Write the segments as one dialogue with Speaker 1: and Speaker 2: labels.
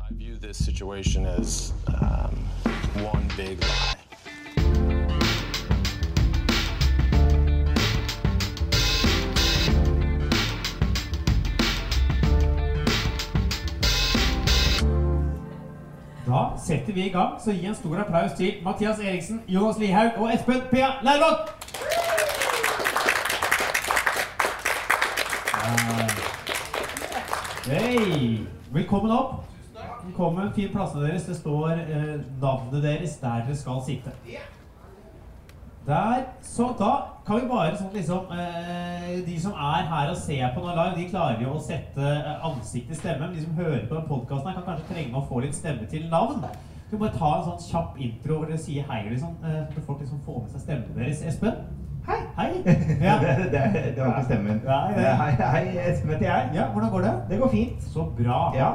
Speaker 1: I view this situation as um, one big lie.
Speaker 2: Da setter vi i gang, så gi en stor applaus til Mathias Eriksen, Jonas Lihaug og Espen P. Lairvoll! Hei! Velkommen opp. Velkommen. Fin plassene deres. Det står eh, navnet deres der dere skal sitte. Der. Så da kan vi bare sånn liksom eh, De som er her og ser på nå live, de klarer jo å sette eh, ansikt til stemme. Men de som hører på denne podkasten, kan kanskje trenge å få litt stemme til navn. Skal vi bare ta en sånn kjapp intro hvor dere sier hei, liksom, eh, så folk liksom får med seg stemmen deres? Espen? Hei. Hei. Ja.
Speaker 3: det, det, det var ikke stemmen.
Speaker 2: Nei, nei.
Speaker 3: Eh, Hei, hei, Espen heter jeg.
Speaker 2: ja, hvordan går det?
Speaker 3: Det går fint.
Speaker 2: Så bra.
Speaker 3: Ja.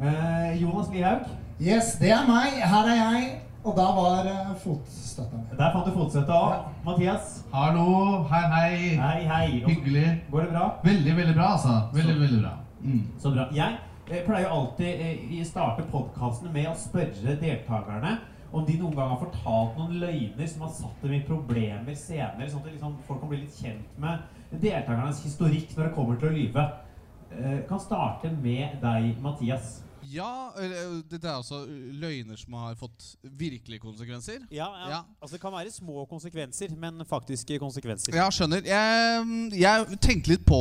Speaker 2: Eh, Jonas Lihaug.
Speaker 4: Yes, det er meg. Her er jeg. Og der var eh, fotstøtta mi.
Speaker 2: Der fant du fotstøtta òg. Mathias.
Speaker 5: Hallo, hei, hei.
Speaker 2: Hei, hei. Og-
Speaker 5: Hyggelig.
Speaker 2: Går det bra?
Speaker 5: Veldig, veldig bra, altså. Veldig,
Speaker 2: Så-
Speaker 5: veldig bra. Mm.
Speaker 2: Så bra. Jeg eh, pleier jo alltid eh, i- starte podkastene med å spørre deltakerne om de noen gang har fortalt noen løgner som har satt dem i problemer senere, sånn at liksom folk kan bli litt kjent med deltakernes historikk når det kommer til å lyve. Eh, Kan starte med deg, Mathias.
Speaker 6: Ja, eller, dette er altså løgner som har fått virkelige konsekvenser.
Speaker 2: Ja,
Speaker 6: Ja.
Speaker 2: altså det kan være små konsekvenser, men faktiske konsekvenser.
Speaker 6: Ja, skjønner. Jeg, jeg tenkte litt på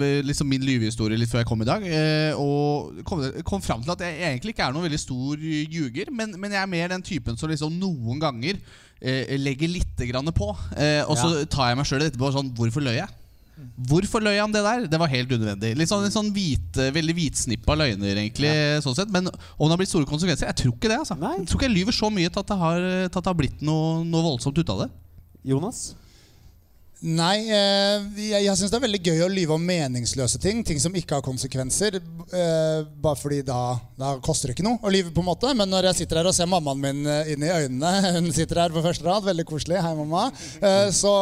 Speaker 6: eh, liksom min lyvehistorie litt før jeg kom i dag. eh, Og kom, kom fram til at jeg egentlig ikke er noen veldig stor ljuger, men, men jeg er mer den typen som liksom noen ganger eh, legger lite grann på. eh, Og så tar jeg meg sjøl etterpå sånn Hvorfor løy jeg? Hvorfor løy han det der? Det var helt unødvendig. Litt sånn, litt sånn hvite, Veldig hvitsnippa løgner, egentlig. sånn sett Men om det har blitt store konsekvenser? Jeg tror ikke det. altså
Speaker 2: Nei.
Speaker 6: Jeg tror ikke jeg lyver så mye til at det har, til at det har blitt noe, noe voldsomt ut av det.
Speaker 2: Jonas?
Speaker 4: Nei, eh, jeg, jeg syns det er veldig gøy å lyve om meningsløse ting. Ting som ikke har konsekvenser. Eh, bare fordi da, da koster det ikke noe å lyve, på en måte. Men når jeg sitter her og ser mammaen min eh, inn i øynene Hun sitter her på første rad, veldig koselig. Hei, mamma. Eh, så,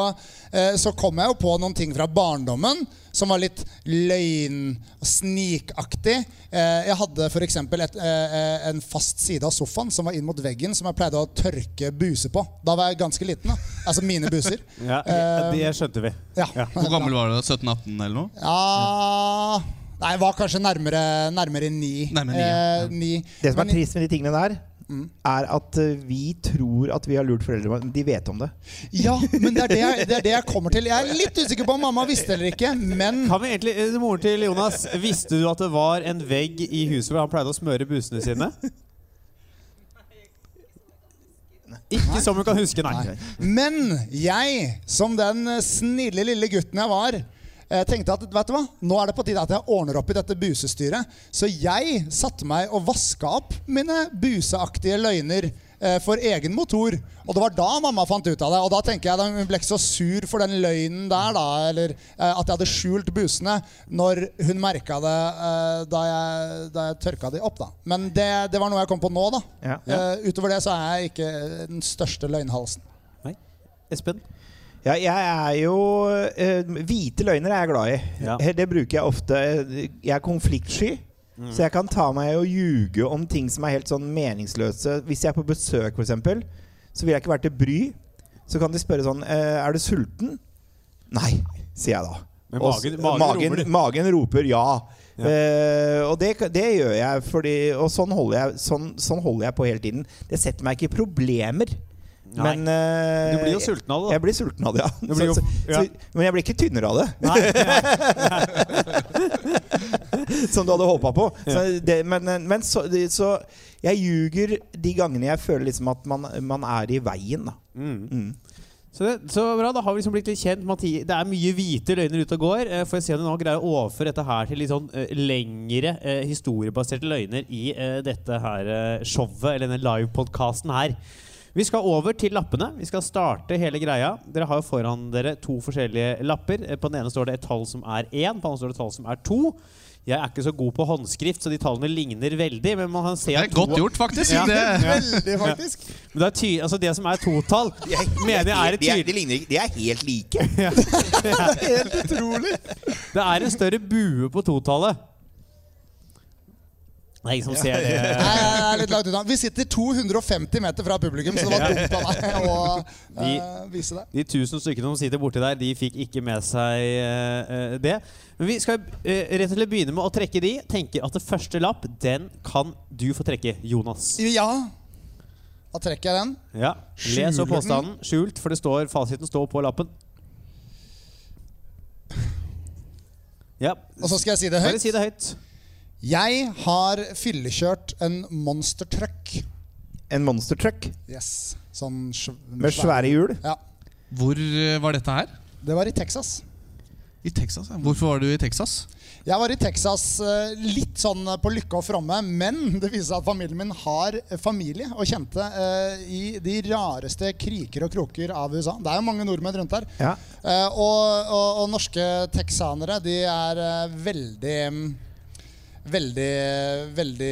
Speaker 4: eh, så kom jeg jo på noen ting fra barndommen som var litt løgn- og snikaktig. Eh, jeg hadde f.eks. Eh, en fast side av sofaen som var inn mot veggen, som jeg pleide å tørke buser på. Da var jeg ganske liten. da. Altså mine buser.
Speaker 2: Ja,
Speaker 4: Eh,
Speaker 2: det skjønte vi.
Speaker 4: Ja.
Speaker 2: Ja.
Speaker 6: Hvor gammel var du? 17-18 eller noe?
Speaker 4: ja Nei, jeg var kanskje nærmere, nærmere ni.
Speaker 6: Nærmere ni, ja.
Speaker 4: Eh, ni.
Speaker 3: Det som er
Speaker 4: Men-
Speaker 3: trist med de tingene der, er at eh, vi tror at vi har lurt foreldrene våre. men De vet om det.
Speaker 4: Ja, men det er det, jeg, det er det jeg kommer til. Jeg er litt usikker på om mamma visste eller ikke, men
Speaker 2: Kan vi egentlig, eh, Moren til Jonas, visste du at det var en vegg i huset hvor han pleide å smøre busene sine? Ikke som hun kan huske, nei.
Speaker 4: Nei. Men jeg, som den eh, snille lille gutten jeg var, eh, tenkte at vet du hva, nå er det på tide at jeg ordner opp i dette busestyret. Så jeg satte meg og vaska opp mine buseaktige løgner eh, for egen motor. Og det var da mamma fant ut av det. Og da tenker jeg da hun ble ikke så sur for den løgnen der, da. Eller eh, at jeg hadde skjult busene når hun merka det eh, da, jeg, da jeg tørka de opp, da. Men det, det var noe jeg kom på nå, da.
Speaker 3: Ja.
Speaker 4: Eh, utover det så er jeg ikke den største løgnhalsen.
Speaker 2: Espen?
Speaker 3: Ja, jeg er jo eh, Hvite løgner er jeg glad i.
Speaker 2: Ja.
Speaker 3: Eh, Det bruker jeg ofte. Jeg er konfliktsky. Så jeg kan ta meg og ljuge om ting som er helt sånn meningsløse. Hvis jeg er på besøk, f.eks., så vil jeg ikke være til bry. Så kan de spørre sånn eh, Er du sulten? Nei, sier jeg da.
Speaker 2: Men
Speaker 3: Og s-
Speaker 2: magen- magen roper det.
Speaker 3: magen roper ja.
Speaker 2: Ja.
Speaker 3: Eh, og det, det gjør jeg, fordi, og sånn holder jeg, sånn, sånn holder jeg på hele tiden. Det setter meg ikke i problemer.
Speaker 2: Nei.
Speaker 3: Men eh,
Speaker 2: Du blir jo sulten av det,
Speaker 3: jeg blir sulten av det, ja.
Speaker 2: blir jo-
Speaker 3: Så, så,
Speaker 2: ja.
Speaker 3: så, men jeg blir ikke tynnere av det,
Speaker 2: da. Nei,
Speaker 3: som du hadde håpa på. Så det, men eh, men så, det, så jeg ljuger de gangene jeg føler liksom at man, man er i veien. Da.
Speaker 2: Så, det, så bra, da har vi liksom blitt litt kjent. Mati, det er mye hvite løgner ute og går. Eh, Får jeg se om du nå greier å overføre dette her til litt sånn eh, lengre eh, historiebaserte løgner i eh, dette her eh, showet, eller denne livepodkasten her. Vi skal over til lappene. Vi skal starte hele greia. Dere har jo foran dere to forskjellige lapper. Eh, På den ene står det et tall som er én, på den andre står det et tall som er to. Jeg er ikke så god på håndskrift, så de tallene ligner veldig. Men man kan se
Speaker 6: Det
Speaker 2: at
Speaker 6: er
Speaker 2: to-
Speaker 6: godt gjort, faktisk.
Speaker 2: Ja.
Speaker 6: Det,
Speaker 4: Veldig, faktisk.
Speaker 2: Men det, er ty altså det som er totall, mener jeg er et tydelig
Speaker 3: de er helt like.
Speaker 4: Helt utrolig.
Speaker 2: Det er en større bue på totallet. Det er ingen som ser det.
Speaker 4: Nei, jeg er litt langt unna. Vi sitter 250 meter fra publikum, så det var dumt av meg å eh, vise det.
Speaker 2: De tusen stykkene som sitter borti der, de fikk ikke med seg eh, eh, det. Men vi skal eh, rett og slett begynne med å trekke de. Tenker at det første lapp, den kan du få trekke, Jonas.
Speaker 4: Ja, da trekker jeg den.
Speaker 2: Ja, Les
Speaker 4: Skjuler
Speaker 2: opp
Speaker 4: den?
Speaker 2: påstanden. Skjult, for det står, fasiten står på lappen. Ja.
Speaker 4: Og så skal jeg si det
Speaker 2: Bare
Speaker 4: høyt.
Speaker 2: si det høyt.
Speaker 4: Jeg har fyllekjørt en monstertruck.
Speaker 3: En monstertruck
Speaker 4: Yes. Sånn sv
Speaker 3: med svære hjul.
Speaker 4: Ja.
Speaker 6: Hvor eh, var dette her?
Speaker 4: Det var i Texas.
Speaker 6: I Texas. ja. Hvorfor var du i Texas?
Speaker 4: Jeg var i Texas eh, litt sånn på lykke og fromme, men det viser seg at familien min har familie og kjente eh, i de rareste kriker og kroker av USA. Det er jo mange nordmenn rundt der.
Speaker 3: Ja.
Speaker 4: Eh, og, og, og norske texanere, de er eh, veldig mm, Veldig, veldig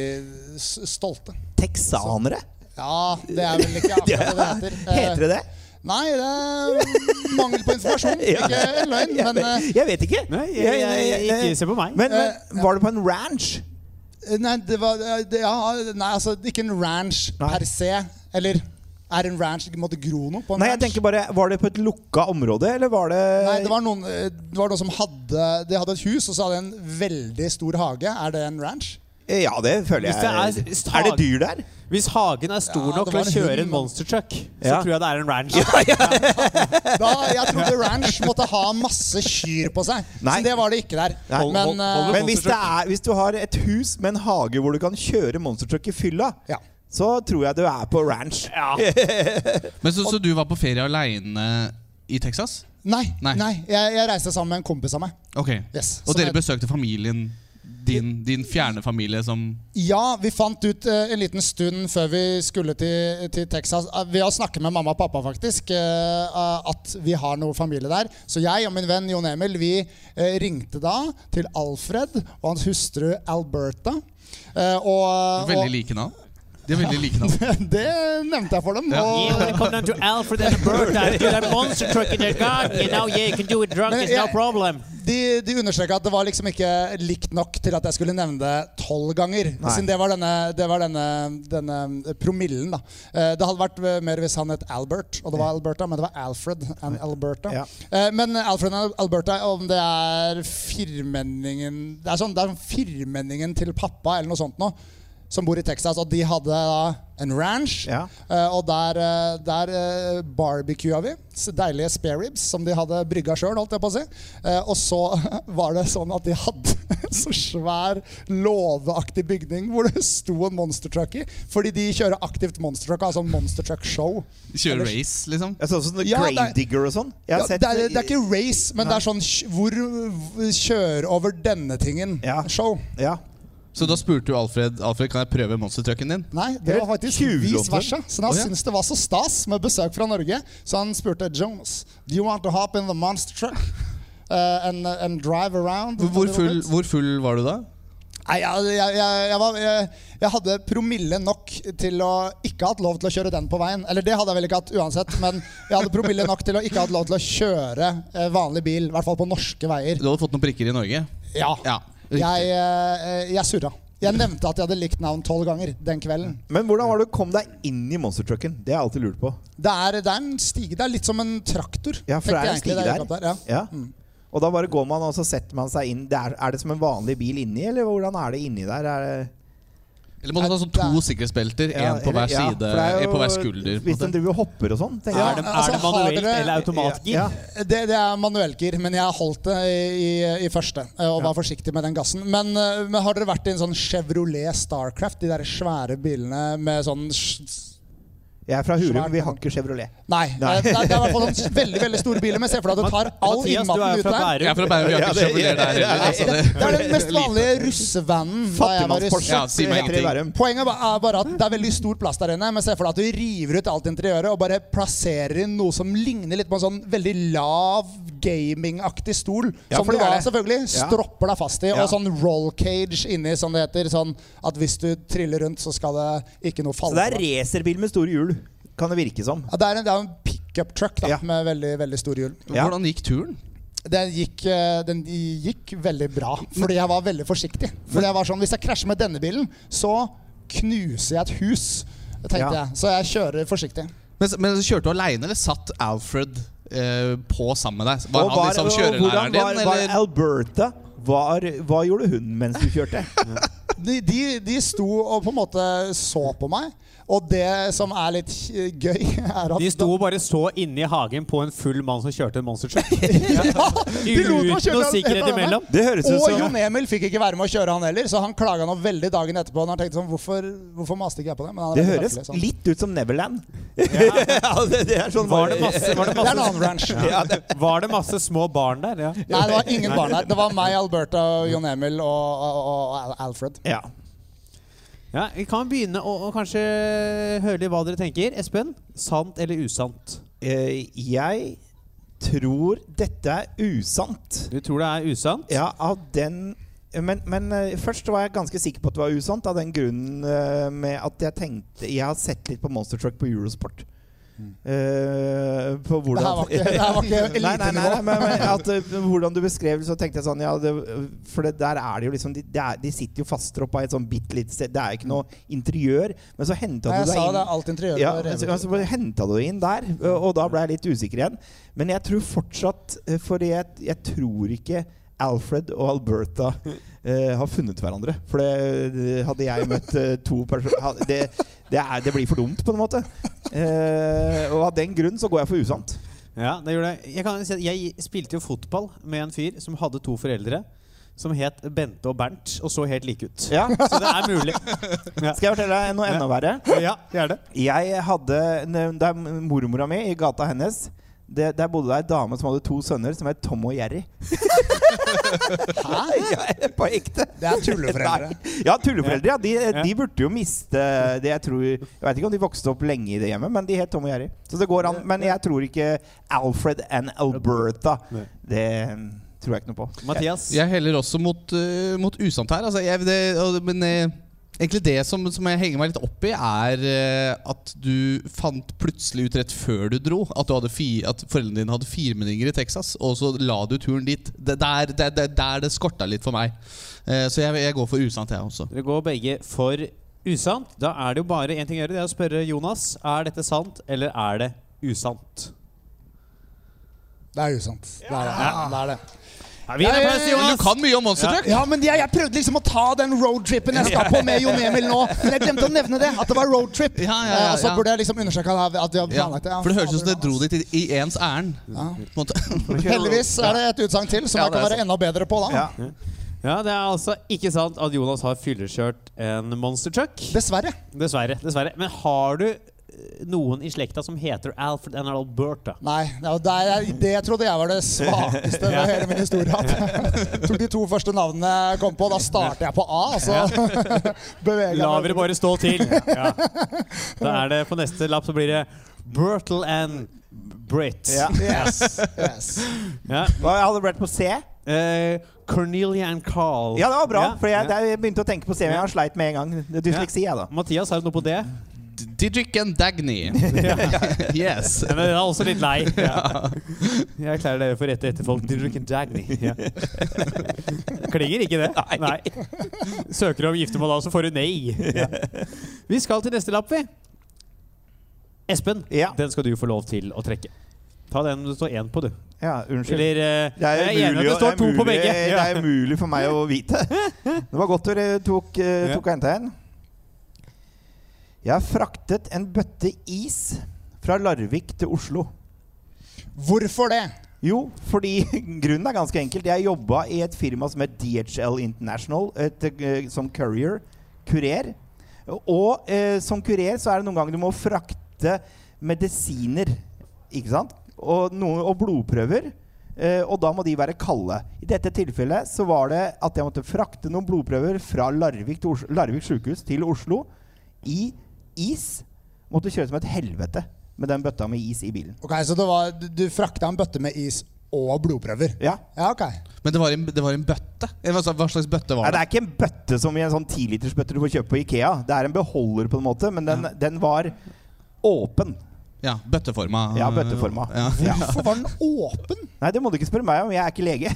Speaker 4: s- stolte.
Speaker 3: Texanere?
Speaker 4: Ja, det er vel ikke akkurat det det heter. Eh,
Speaker 3: Heter det det?
Speaker 4: Nei, det er mangel på informasjon. Eh, Ikke en løgn, men eh,
Speaker 3: Jeg vet ikke.
Speaker 2: Nei, jeg, jeg, jeg, ikke se på meg.
Speaker 3: Men, men var du på en ranch?
Speaker 4: eh, Nei, det var det, ja, nei, altså ikke en ranch
Speaker 3: Nei.
Speaker 4: per se. Eller er en ranch ikke måtte gro noe på en
Speaker 3: Nei, jeg
Speaker 4: ranch?
Speaker 3: tenker bare Var det på et lukka område, eller var det
Speaker 4: Nei, det var, noen, eh, det var noen som hadde De hadde et hus, og så hadde de en veldig stor hage. Er det en ranch?
Speaker 3: Eh, Ja, det føler
Speaker 2: Hvis
Speaker 3: jeg.
Speaker 2: det er-
Speaker 3: er det dyr der?
Speaker 2: Hvis hagen er stor
Speaker 4: Ja,
Speaker 2: nok
Speaker 4: det
Speaker 2: til å
Speaker 4: var en
Speaker 2: kjøre
Speaker 4: hund,
Speaker 2: en
Speaker 4: da.
Speaker 2: monstertruck, så
Speaker 3: Ja.
Speaker 2: tror jeg det er en ranch.
Speaker 4: Da, jeg trodde ranch måtte ha masse kyr på seg.
Speaker 3: Nei.
Speaker 4: Så det var det ikke der.
Speaker 3: Nei. Hold-
Speaker 4: Men, eh,
Speaker 3: Men hvis, det er, hvis du har et hus med en hage hvor du kan kjøre monstertruck i fylla,
Speaker 4: Ja.
Speaker 3: så tror jeg du er på ranch.
Speaker 6: Men Så, så du var på ferie aleine i Texas?
Speaker 4: nei,
Speaker 6: Nei.
Speaker 4: nei. jeg, jeg reiste sammen med en kompis av meg.
Speaker 6: Ok.
Speaker 4: Yes.
Speaker 6: Og
Speaker 4: Som
Speaker 6: dere
Speaker 4: jeg-
Speaker 6: besøkte familien din, din fjerne familie som
Speaker 4: Ja, vi fant ut eh, en liten stund før vi skulle til, til Texas, eh, ved å snakke med mamma og pappa faktisk, eh, at vi har noe familie der. Så jeg og min venn Jon Emil vi eh, ringte da til Alfred og hans hustru Alberta. Eh, og,
Speaker 6: Veldig like navn. De er veldig like navn.
Speaker 4: og Det nevnte jeg for dem.
Speaker 6: Ja.
Speaker 4: Og,
Speaker 2: Yeah, welcome down to Alfred and Alberta. Do that monster truck in their garden. You know, yeah, you can do it drunk.
Speaker 4: Men
Speaker 2: It's no
Speaker 4: jeg-
Speaker 2: problem.
Speaker 4: De, de understreka at det var liksom ikke likt nok til at jeg skulle nevne det tolv ganger.
Speaker 3: Nei.
Speaker 4: Siden det var denne, det var denne, denne promillen, da. Eh, Det hadde vært eh, mer hvis han het Albert, og det var Alberta, men det var Alfred and Alberta.
Speaker 3: Ja.
Speaker 4: Eh, Men Alfred and Alberta, om det er firmenningen Det er sånn, det er sånn firmenningen til pappa eller noe sånt nå, som bor i Texas, og de hadde da en ranch.
Speaker 3: Ja.
Speaker 4: Eh, og der, uh, der eh, barbecua vi. S- Deilige spareribs som de hadde brygga sjøl, holdt jeg på å si. Eh, og så var det sånn at de hadde så svær låveaktig bygning hvor det sto en monstertruck i. Fordi de kjører aktivt monstertruck, altså monstertruck-show.
Speaker 6: Kjører race, liksom.
Speaker 3: Ja, sånn som
Speaker 4: Ja, det er-
Speaker 3: Gravedigger og sånn. Jeg
Speaker 4: Ja, det,
Speaker 3: har sett
Speaker 4: er- det er ikke race, men det er sånn kj- hvor v- kjør over denne
Speaker 3: Ja.
Speaker 4: tingen-show.
Speaker 3: ja.
Speaker 6: Så da spurte du Alfred Alfred, kan jeg prøve monstertrucken din.
Speaker 4: Nei, det var faktisk
Speaker 3: Helt
Speaker 4: vis
Speaker 3: tjuvlåter.
Speaker 4: versa. Så han
Speaker 6: Å, ja.
Speaker 4: syntes det var så stas med besøk fra Norge, så han spurte Jonas Do you want to hop in the monster truck uh, and, and drive around?
Speaker 6: Hvor
Speaker 4: a little
Speaker 6: full,
Speaker 4: bit?»
Speaker 6: hvor full var du da?
Speaker 4: Nei, jeg, jeg, jeg, jeg, var, jeg, jeg hadde promille nok til å ikke hatt lov til å kjøre den på veien. Eller det hadde jeg vel ikke hatt uansett, men jeg hadde promille nok til å ikke hatt lov til å kjøre eh, vanlig bil. I hvert fall på norske veier.
Speaker 6: Du hadde fått noen prikker i Norge?
Speaker 4: Ja.
Speaker 6: Ja.
Speaker 4: Jeg, eh, jeg surra. Jeg nevnte at jeg hadde likt navn tolv ganger den kvelden.
Speaker 3: Men hvordan var det du kom deg inn i monstertrucken? Det har jeg alltid lurt på.
Speaker 4: Det er, det er en stige. Det er litt som en traktor.
Speaker 3: Ja, for
Speaker 4: tenkte jeg
Speaker 3: det er en
Speaker 4: egentlig
Speaker 3: stige
Speaker 4: da jeg
Speaker 3: der.
Speaker 4: gikk opp ja.
Speaker 3: Ja. Og da bare går man og så setter man seg inn. Det er, er det som en vanlig bil inni, eller hvordan er det inni der? Er det,
Speaker 6: Eller må du ha sånn to sikkerhetsbelter, én
Speaker 3: Ja,
Speaker 6: på hver
Speaker 3: eller- ja,
Speaker 6: side,
Speaker 3: for det er
Speaker 6: en
Speaker 3: jo-
Speaker 6: på hver skulder? på en
Speaker 3: Hvis den
Speaker 6: måte.
Speaker 3: driver og hopper og sånn, tenker
Speaker 4: Ja,
Speaker 2: er det, er
Speaker 4: altså,
Speaker 2: det
Speaker 4: har
Speaker 2: manuelt
Speaker 4: dere-
Speaker 2: eller automatgir?
Speaker 3: Ja.
Speaker 4: Det, det er manuellgir, men jeg holdt det i, i første eh, og var forsiktig med den gassen. Men, eh, men har dere vært i en sånn Chevrolet Starcraft, de der svære bilene med sånn s-
Speaker 3: Jeg er fra Hurum,
Speaker 4: Svært.
Speaker 3: vi har ikke Chevrolet.
Speaker 4: Nei.
Speaker 3: Nei.
Speaker 4: eh, Det, er, det er i hvert fall sånn veldig veldig store biler, men se for deg at du tar all
Speaker 2: Mathias, du er
Speaker 4: innmaten
Speaker 2: jo
Speaker 4: ut
Speaker 2: fra
Speaker 4: der.
Speaker 2: Bærum.
Speaker 6: Jeg er fra Bærum, vi har ikke sjøvler der heller.
Speaker 4: Nei,
Speaker 6: Altså,
Speaker 4: det,
Speaker 6: det-
Speaker 4: det er den mest vanlige russevanen. da jeg var i-
Speaker 3: Fattigmanns-Porsche
Speaker 6: Ja, si meg
Speaker 3: heter det i
Speaker 6: ingenting.
Speaker 3: Bærum.
Speaker 4: Poenget ba- er bare at det er veldig stor plass der inne, men se for deg at du river ut alt interiøret og bare plasserer inn noe som ligner litt på en sånn veldig lav gamingaktig stol.
Speaker 3: Ja,
Speaker 4: som
Speaker 3: for
Speaker 4: du
Speaker 3: det er
Speaker 4: da
Speaker 3: det.
Speaker 4: selvfølgelig
Speaker 3: Ja.
Speaker 4: stropper deg fast i.
Speaker 3: Ja.
Speaker 4: Og sånn roll cage inni, som det heter. Sånn at hvis du triller rundt, så skal det ikke noe
Speaker 3: Så
Speaker 4: falle.
Speaker 3: det er
Speaker 4: på deg.
Speaker 3: racerbil med store hjul, kan det virke som.
Speaker 4: ja, det er en, det er en pickup truck da,
Speaker 3: Ja.
Speaker 4: med veldig, veldig store hjul.
Speaker 3: Ja.
Speaker 6: Hvordan gikk turen?
Speaker 4: den gikk, eh, den gikk veldig bra, fordi jeg var veldig forsiktig. Fordi jeg var sånn, Hvis jeg krasjer med denne bilen, så knuser jeg et hus, tenkte
Speaker 3: Ja.
Speaker 4: jeg. Så jeg kjører forsiktig.
Speaker 6: Men, men så kjørte du aleine, eller satt Alfred eh, på sammen med deg? Var
Speaker 3: Og
Speaker 6: han liksom kjørelæreren
Speaker 3: hvordan
Speaker 6: din,
Speaker 3: var, var
Speaker 6: eller?
Speaker 3: Alberta? Var, hva gjorde hun mens du kjørte?
Speaker 4: De, de, de sto og på en måte så på meg. Og det som er litt eh, gøy, er at
Speaker 2: De sto og bare så inni hagen på en full mann som kjørte en monstertruck.
Speaker 4: ja, de lot meg
Speaker 2: Uten
Speaker 4: kjøre
Speaker 2: noe
Speaker 4: den-
Speaker 2: sikkerhet imellom.
Speaker 3: Det høres ut
Speaker 4: Og
Speaker 3: som
Speaker 4: Jon Emil fikk ikke være med å kjøre, han heller, så han klaga nå veldig dagen etterpå. Når han tenkte sånn, hvorfor, hvorfor maste ikke jeg på det? Men han er
Speaker 3: Det
Speaker 4: veldig
Speaker 3: høres
Speaker 4: høflig, sånn.
Speaker 3: litt ut som Neverland. Ja, det, det er sånn
Speaker 2: Var det masse, var det
Speaker 4: Det er en
Speaker 2: masse,
Speaker 4: annen ranch.
Speaker 2: var det masse små barn der? Ja.
Speaker 4: Nei, det var ingen barn der. Det var meg, Alberta, og Jon Emil og, og, og Al- Alfred.
Speaker 3: Ja.
Speaker 2: Ja, vi kan begynne å, å kanskje høre litt hva dere tenker. Espen, sant eller usant?
Speaker 3: Eh, Jeg tror dette er usant.
Speaker 2: Du tror det er usant?
Speaker 3: Ja, av den men, men eh, først var jeg ganske sikker på at det var usant, av den grunnen eh, med at jeg tenkte Jeg har sett litt på Monster Truck på Eurosport. Eh, på
Speaker 4: Det
Speaker 3: hvordan
Speaker 4: her var ikke, det her var ikke
Speaker 3: Nei, nei, nei, nei,
Speaker 4: elitenivå.
Speaker 3: men, men at, eh, hvordan du beskrev det, så tenkte jeg sånn ja, det, For det der er det jo liksom De, det er, de sitter jo fastroppa i et sånn bitte lite sted. Det er ikke noe interiør. Men så henta
Speaker 4: Nei,
Speaker 3: du
Speaker 4: jeg
Speaker 3: deg
Speaker 4: sa
Speaker 3: inn
Speaker 4: det. Alt interiøret
Speaker 3: ja,
Speaker 4: var revet
Speaker 3: altså,
Speaker 4: ut.
Speaker 3: altså, bare hentet du inn der, ø, og da ble jeg litt usikker igjen. Men jeg tror fortsatt ø, Fordi jeg, jeg tror ikke Alfred og Alberta ø, har funnet hverandre. For det, det- hadde jeg møtt ø, to personer det, det, er- det blir for dumt, på en måte. Eh, og av den grunn så går jeg for usant.
Speaker 2: Ja, det gjorde jeg. Jeg, kan si at jeg spilte jo fotball med en fyr som hadde to foreldre. Som het Bente og Bernt, og så helt like ut.
Speaker 3: Ja.
Speaker 2: Så det er mulig. Ja,
Speaker 3: Skal jeg fortelle deg noe enda verre?
Speaker 2: ja det er det.
Speaker 3: Jeg hadde ne- Det er mormora mi i gata hennes. Det, der bodde det ei dame som hadde to sønner som het Tom og Jerry. Hæ? Ja, på ekte.
Speaker 4: Det er tulleforeldre.
Speaker 3: Nei. Ja, tulleforeldre. Ja. De,
Speaker 2: Ja.
Speaker 3: de burde jo miste det jeg tror Jeg vet ikke om de vokste opp lenge i det hjemmet, men de het Tom og Jerry. Så det går an. Men jeg tror ikke Alfred and Alberta.
Speaker 2: Nei.
Speaker 3: Det mm, tror jeg ikke noe på.
Speaker 2: Mathias.
Speaker 6: Jeg heller også mot, eh, mot usant her. Altså, jeg, det, og- men eh, egentlig det som, som jeg henger meg litt opp i, er eh, at du fant plutselig ut rett før du dro at, du hadde fi, at foreldrene dine hadde firmenninger i Texas, og så la du turen dit. Det, der, det, det, der det skorta litt for meg. Eh, så jeg, jeg går for usant, jeg også.
Speaker 2: Dere går begge for usant. Da er det jo bare én ting å gjøre. Det er å spørre Jonas er dette sant eller er det usant.
Speaker 4: Det er usant. Det er det. det, er det.
Speaker 2: Ja, vi gir en applaus til
Speaker 6: Men du
Speaker 2: Jonas.
Speaker 6: kan mye om Monster Truck!
Speaker 4: Ja, men jeg, jeg prøvde liksom å ta den roadtripen jeg skal på med Jon Emil nå. Men jeg glemte å nevne det. At det var roadtrip.
Speaker 6: Ja, ja, ja,
Speaker 4: Eh, Og så
Speaker 6: ja.
Speaker 4: burde jeg liksom understreke at at vi hadde
Speaker 6: Ja,
Speaker 4: planlagt det. Ja,
Speaker 6: for det høres ut som
Speaker 4: fader, altså.
Speaker 6: det dro dit i, i ens ærend. På en måte.
Speaker 4: Heldigvis er det et utsagn til som jeg
Speaker 3: Ja,
Speaker 4: kan
Speaker 3: det er
Speaker 4: være enda bedre på. da
Speaker 3: Ja.
Speaker 2: Ja, Det er altså ikke sant at Jonas har fyllekjørt en monster truck.
Speaker 4: Dessverre.
Speaker 2: Dessverre. dessverre. Men har du eh, noen i slekta som heter Alfred and Alberta?
Speaker 4: Nei, det, var der, jeg- det trodde jeg var det svakeste ved hele min historie. At jeg tok de to første navnene jeg kom på. Da starter jeg på A, og så beveger
Speaker 2: La
Speaker 4: jeg
Speaker 2: dere bare stå til. Ja. Da er det på neste lapp så blir det Bertel and Britt.
Speaker 3: Ja.
Speaker 4: Yes, yes.
Speaker 2: Ja.
Speaker 3: Hva jeg hadde vært på C?
Speaker 2: Eh, Cornelia and Carl.
Speaker 3: Ja, det var bra.
Speaker 2: Ja,
Speaker 3: For jeg,
Speaker 2: ja.
Speaker 3: jeg begynte å tenke på C, men jeg har sleit med en gang. Det er Dysleksi, jeg, da.
Speaker 2: Mathias, har du noe på det?
Speaker 6: Didrik and Dagny. yes.
Speaker 2: Ja, men jeg er også litt lei. Ja. Jeg erklærer dere for rette etterfolk. Didrik and Dagny. Ja. Klinger ikke det? Nei. Søker om giftermål da, så får du nei. Ja. Vi skal til neste lapp, vi. Espen,
Speaker 3: Ja.
Speaker 2: den skal du få lov til å trekke. Ta den det står én på, du.
Speaker 3: Ja, unnskyld.
Speaker 2: Eller eh,
Speaker 3: Det er
Speaker 2: Jeg er enig i at
Speaker 3: umulig,
Speaker 2: det står to på begge.
Speaker 3: det er umulig for meg å vite. Det var godt dere tok, eh,
Speaker 2: Ja.
Speaker 3: tok og henta en. Jeg har fraktet en bøtte is fra Larvik til Oslo.
Speaker 4: Hvorfor det?
Speaker 3: Jo, fordi grunnen er ganske enkelt. Jeg jobba i et firma som het DHL International et, eh, som courier. Kurer. Og eh, som kurer så er det noen ganger du må frakte medisiner. Ikke sant? Og, noe, og blodprøver. Eh, og da må de være kalde. I dette tilfellet så var det at jeg måtte frakte noen blodprøver fra Larvik, til Oslo, Larvik sykehus til Oslo i is. Måtte kjøre som et helvete med den bøtta med is i bilen.
Speaker 4: Ok, Så det var, du- du frakta en bøtte med is og blodprøver?
Speaker 3: Ja,
Speaker 4: Ja, ok.
Speaker 6: Men det var en, det var en bøtte? Eller Hva, hva slags bøtte
Speaker 3: Nei,
Speaker 6: var
Speaker 3: det
Speaker 6: det?
Speaker 3: er ikke en bøtte som i en sånn 10-litersbøtte du får kjøpt på Ikea. Det er en beholder, på en måte, men den, den var åpen.
Speaker 6: Ja, bøtteforma.
Speaker 3: Ja, bøtteforma.
Speaker 6: Ja.
Speaker 3: Ja.
Speaker 4: Hvorfor var den åpen?
Speaker 3: Nei, det må du ikke spørre meg om. Jeg er ikke lege.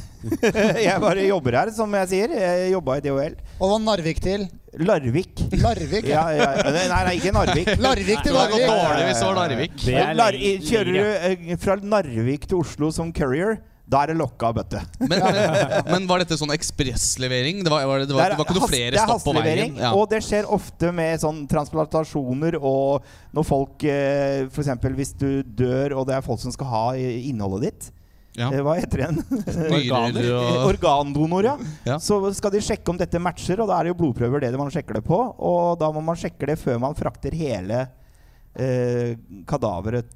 Speaker 3: jeg bare jobber her, som jeg sier. Jeg jobba i DHL.
Speaker 4: Og var Narvik til?
Speaker 3: Larvik.
Speaker 4: Larvik?
Speaker 3: Ja,
Speaker 4: Ja.
Speaker 3: ja. Nei, nei, ikke Narvik.
Speaker 4: Larvik til
Speaker 6: Det går
Speaker 4: Larvik.
Speaker 6: dårlig hvis det var Larvik.
Speaker 2: Det er
Speaker 3: Lar
Speaker 2: lenge-
Speaker 3: kjører du eh, fra Narvik til Oslo som courier, da er det lokka bøtte.
Speaker 6: Men, men var dette sånn ekspresslevering? Det var, var, det, det var, det var ikke noe
Speaker 3: hast- det
Speaker 6: flere
Speaker 3: er
Speaker 6: stopp på veien?
Speaker 3: hastelevering, og det skjer ofte med sånn transplantasjoner og når folk eh, for eksempel hvis du dør, og det er folk som skal ha eh, innholdet ditt
Speaker 6: Ja.
Speaker 3: eh, Hva heter det igjen? Eh,
Speaker 6: Nyrer og
Speaker 3: Organdonor, ja.
Speaker 6: Ja.
Speaker 3: Så skal de sjekke om dette matcher, og da er det jo blodprøver det man sjekker det på. Og da må man sjekke det før man frakter hele eh, kadaveret,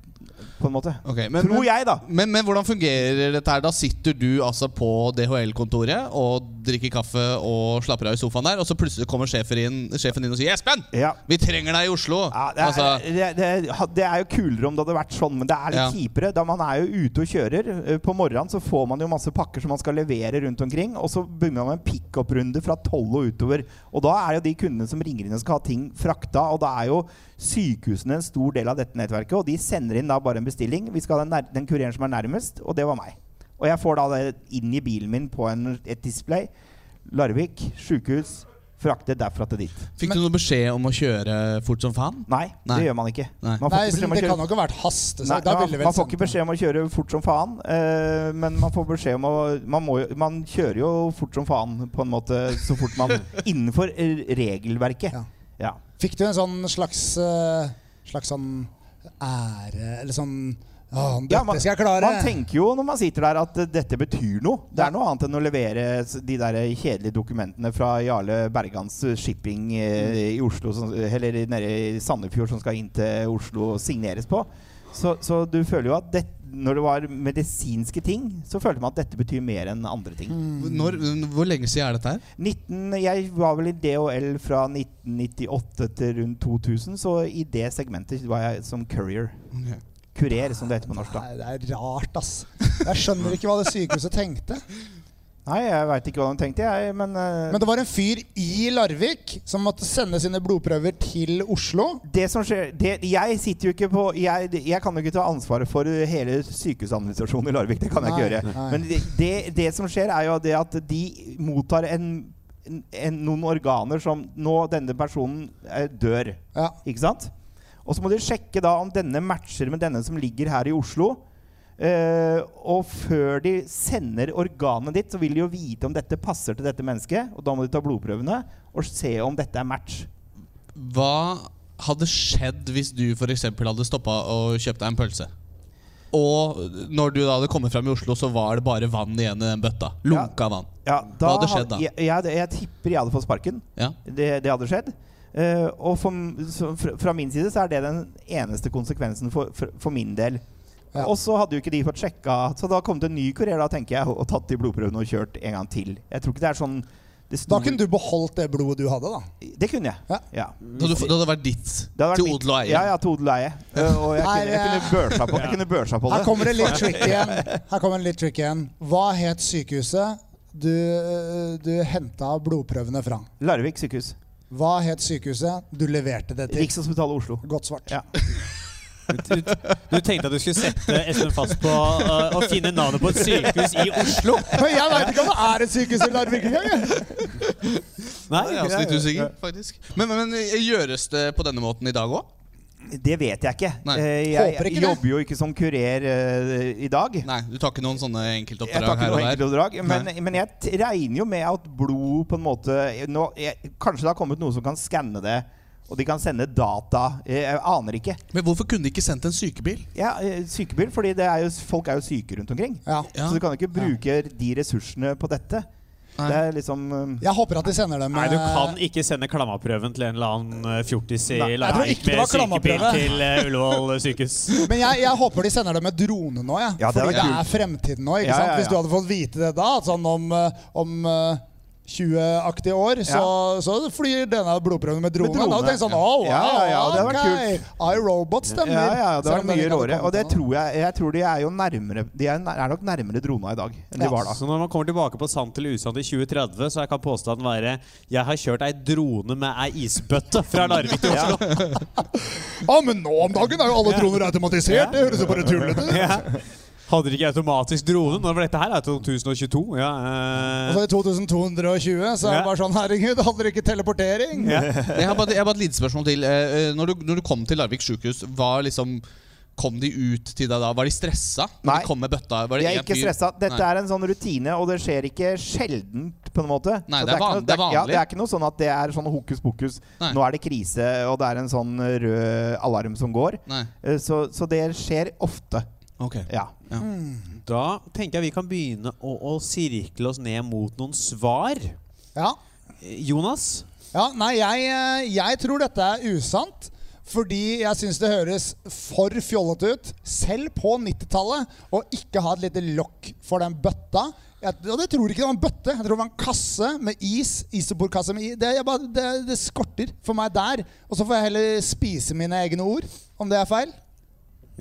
Speaker 3: på en måte.
Speaker 6: Ok, men,
Speaker 3: Tror jeg, da.
Speaker 6: Men, men hvordan fungerer dette her? Da sitter du altså på DHL-kontoret og drikker kaffe og slapper av i sofaen der, og så plutselig kommer sjefen inn, sjefen inn og sier 'Espen,
Speaker 3: Ja.
Speaker 6: vi trenger deg i Oslo'.
Speaker 3: Ja, det, er,
Speaker 6: altså,
Speaker 3: det, det, ha- det er jo kulere om det hadde vært sånn, men det er litt
Speaker 6: Ja.
Speaker 3: kjipere. Da man er jo ute og kjører. eh, På morgenen så får man jo masse pakker som man skal levere rundt omkring. Og så begynner man med en pickup-runde fra tolv og utover. Og da er jo de kundene som ringer inn og skal ha ting frakta, og da er jo sykehusene en stor del av dette nettverket. Og de sender inn da bare en bestilling. Vi skal ha den, nær- den kureren som er nærmest, og det var meg. Og jeg får da det inn i bilen min på en, et display. Larvik sjukehus. Fraktet derfra til dit.
Speaker 6: fikk du noen beskjed om å kjøre fort som faen?
Speaker 3: Nei,
Speaker 6: Nei.
Speaker 3: det gjør man ikke.
Speaker 6: Nei.
Speaker 3: Man
Speaker 4: Nei,
Speaker 3: ikke beskjed om å
Speaker 4: det
Speaker 3: kjøre-
Speaker 4: kan jo ikke ha vært haste. Så
Speaker 3: Nei,
Speaker 4: da
Speaker 3: man,
Speaker 4: ville vel
Speaker 3: man får ikke beskjed om å kjøre fort som faen, eh, men man får beskjed om å man, må, jo- man kjører jo fort som faen, på en måte, så fort man Innenfor eh, regelverket.
Speaker 4: Ja.
Speaker 3: Ja.
Speaker 4: Fikk du en sånn slags eh, Slags sånn ære Eller sånn Å,
Speaker 3: Ja,
Speaker 4: dette skal jeg klare.
Speaker 3: man tenker jo når man sitter der, at eh, dette betyr noe. Det er noe annet enn å levere s- de der kjedelige dokumentene fra Jarle Bergans eh, Shipping eh, i Oslo, som, eller i- nede i Sandefjord, som skal inn til Oslo og signeres på. Så, så du føler jo at det, når det var medisinske ting, så følte man at dette betyr mer enn andre ting.
Speaker 4: Mm.
Speaker 6: Når, hvor lenge siden er dette her?
Speaker 3: 19, jeg var vel i DHL fra 1998 til rundt 2000, så i det segmentet var jeg som courier. Kurer, som det heter på norsk. da.
Speaker 4: Nei, det er rart, ass. Jeg skjønner ikke hva det sykehuset tenkte.
Speaker 3: Nei, jeg veit ikke hva de tenkte, jeg, men, eh,
Speaker 4: Men det var en fyr i Larvik som måtte sende sine blodprøver til Oslo.
Speaker 3: det som skjer det, Jeg sitter jo ikke på jeg, jeg kan jo ikke ta ansvaret for hele sykehusadministrasjonen i Larvik. Det kan jeg
Speaker 4: Nei,
Speaker 3: ikke gjøre.
Speaker 4: nei.
Speaker 3: Men det, det, det som skjer, er jo det at de mottar en, en, noen organer som Nå denne personen eh, dør.
Speaker 4: Ja.
Speaker 3: Ikke sant? Og så må de sjekke da om denne matcher med denne som ligger her i Oslo. Eh, og før de sender organet ditt, så vil de jo vite om dette passer til dette mennesket. Og da må de ta blodprøvene og se om dette er match.
Speaker 6: Hva hadde skjedd hvis du for eksempel hadde stoppa og kjøpt deg en pølse? Og når du da hadde kommet fram i Oslo, så var det bare vann igjen i den bøtta. Lunka vann.
Speaker 3: Ja, da
Speaker 6: Hva hadde skjedd da?
Speaker 3: had- Jeg, jeg, jeg tipper jeg hadde fått sparken.
Speaker 6: Ja.
Speaker 3: Det, det hadde skjedd. Eh, og for, så, fra, fra min side så er det den eneste konsekvensen for, for, for min del.
Speaker 4: Ja.
Speaker 3: Og så hadde jo ikke de fått sjekka Så da kom det en ny kurer da, tenker jeg, og tatt de blodprøvene og kjørt en gang til. Jeg tror ikke det er sånn det,
Speaker 4: Da
Speaker 3: store-
Speaker 4: kunne du beholdt det blodet du hadde, da.
Speaker 3: det kunne jeg.
Speaker 4: Ja.
Speaker 3: Ja.
Speaker 6: Så du, det hadde vært ditt
Speaker 3: Det hadde vært
Speaker 6: til
Speaker 3: mitt-
Speaker 6: odel og eie?
Speaker 3: Ja, ja, til odel og eie. Eh, Og jeg
Speaker 4: Nei,
Speaker 3: kunne, jeg kunne børsa på, jeg kunne børsa på
Speaker 4: Her
Speaker 3: det.
Speaker 4: kommer det litt trick igjen. Her kommer det litt trick igjen. Hva het sykehuset du, eh, du henta blodprøvene fra?
Speaker 3: Larvik sykehus.
Speaker 4: Hva het sykehuset du leverte det til?
Speaker 3: Rikshospitalet Oslo.
Speaker 4: Godt svart.
Speaker 3: Ja.
Speaker 2: Du, du tenkte at du skulle sette Espen fast på øh, å finne navnet på et sykehus i Oslo?
Speaker 4: Men jeg veit ikke om det er et sykehus i Larvik engang! jeg.
Speaker 2: Nei,
Speaker 6: Jeg er også litt usikker, faktisk. Men, men, men gjøres det på denne måten i dag òg?
Speaker 3: Det vet jeg ikke.
Speaker 6: Nei.
Speaker 3: Eh,
Speaker 4: Håper
Speaker 3: Jeg
Speaker 4: ikke det.
Speaker 3: jobber jo ikke som kurer eh, i dag.
Speaker 6: Nei, du tar ikke noen sånne
Speaker 3: Jeg tar
Speaker 6: enkeltoppdrag
Speaker 3: ikke
Speaker 6: her
Speaker 3: noe
Speaker 6: og der?
Speaker 3: enkeltoppdrag, men, men jeg t- regner jo med at blod på en måte nå, jeg, Kanskje det har kommet noen som kan skanne det, og de kan sende data. Jeg, jeg aner ikke.
Speaker 6: Men hvorfor kunne de ikke sendt en sykebil?
Speaker 3: Ja, eh, sykebil, fordi det er jo, folk er jo syke rundt omkring.
Speaker 4: Ja.
Speaker 6: Ja.
Speaker 3: Så du kan jo ikke bruke de ressursene på dette.
Speaker 6: Nei.
Speaker 3: Det er liksom eh,
Speaker 4: Jeg håper at de sender dem
Speaker 2: Nei, du kan
Speaker 4: eh,
Speaker 2: ikke sende klammaprøven til en eller annen øh, fjortis i
Speaker 3: Nei, jeg
Speaker 4: tror
Speaker 2: Larvik
Speaker 4: ikke det
Speaker 2: med
Speaker 4: var
Speaker 2: sykebil
Speaker 4: klammaprøve.
Speaker 2: til øh, Ullevål sykehus.
Speaker 4: Men jeg, jeg håper de sender dem med drone nå, jeg.
Speaker 3: Ja, det
Speaker 4: Fordi
Speaker 3: hadde
Speaker 4: det
Speaker 3: vært
Speaker 4: er fremtiden nå. ikke
Speaker 3: Ja,
Speaker 4: sant?
Speaker 3: ja, ja.
Speaker 4: Hvis du hadde fått vite det da, at sånn om, eh, om eh, 20-aktige år, så, så flyr denne blodprøven med drone.
Speaker 3: drone,
Speaker 4: Da tenkte jeg sånn, oh, wow,
Speaker 3: Ja, ja, ja, det hadde vært
Speaker 4: ok. iRobot stemmer.
Speaker 3: Ja, ja, det
Speaker 4: Selv
Speaker 3: var
Speaker 4: om den
Speaker 3: mye
Speaker 4: ikke hadde
Speaker 3: råere.
Speaker 4: kommet
Speaker 3: Og det
Speaker 4: ennå.
Speaker 3: tror jeg Jeg tror de er jo nærmere De er, nær- er nok nærmere drona i dag enn de
Speaker 4: Ja.
Speaker 3: var da.
Speaker 2: Så Altså, når man kommer tilbake på sant eller usant i 2030, så kan påstanden være Jeg har kjørt ei drone med ei isbøtte fra Larvik til Oslo.
Speaker 4: Ja, men nå om dagen er jo alle droner automatisert. Det høres jo bare tullete ut.
Speaker 2: Ja. Hadde de ikke automatisk drone? Når var dette her? Er det 2022? Ja, eh,
Speaker 4: Altså I 2220 så
Speaker 2: Ja.
Speaker 4: er det bare sånn Herregud, det handler ikke teleportering!
Speaker 6: Jeg har bare, jeg har bare et lite spørsmål til. Eh, eh, Når du, når du kom til Larvik sykehus, var liksom Kom de ut til deg da? Var de stressa? Når
Speaker 3: Nei.
Speaker 6: De kom med bøtta? Var det
Speaker 3: De er
Speaker 6: en
Speaker 3: ikke
Speaker 6: fyr-
Speaker 3: stressa. Dette
Speaker 6: Nei.
Speaker 3: er en sånn rutine, og det skjer ikke sjeldent, på en måte.
Speaker 6: Nei,
Speaker 3: Så
Speaker 6: det er
Speaker 3: ikke
Speaker 6: van-
Speaker 3: noe-
Speaker 6: det er
Speaker 3: ikke- Ja,
Speaker 6: vanlig.
Speaker 3: det er ikke noe sånn at det er sånn hokus pokus.
Speaker 6: Nei.
Speaker 3: Nå er det krise, og det er en sånn rød alarm som går.
Speaker 6: Nei.
Speaker 3: Eh, Så, så det skjer ofte.
Speaker 6: Ok.
Speaker 3: Ja.
Speaker 2: da tenker jeg vi kan begynne å, å sirkle oss ned mot noen svar.
Speaker 4: Ja.
Speaker 2: Eh, Jonas?
Speaker 4: ja nei, jeg, eh, jeg tror dette er usant. Fordi jeg syns det høres for fjollete ut, selv på 90-tallet, å ikke ha et lite lokk for den bøtta. Jeg, og det tror ikke det var en bøtte. Jeg tror det var en kasse med is. Isoporkasse med is. Det, jeg bare, det, det skorter for meg der. Og så får jeg heller spise mine egne ord, om det er feil.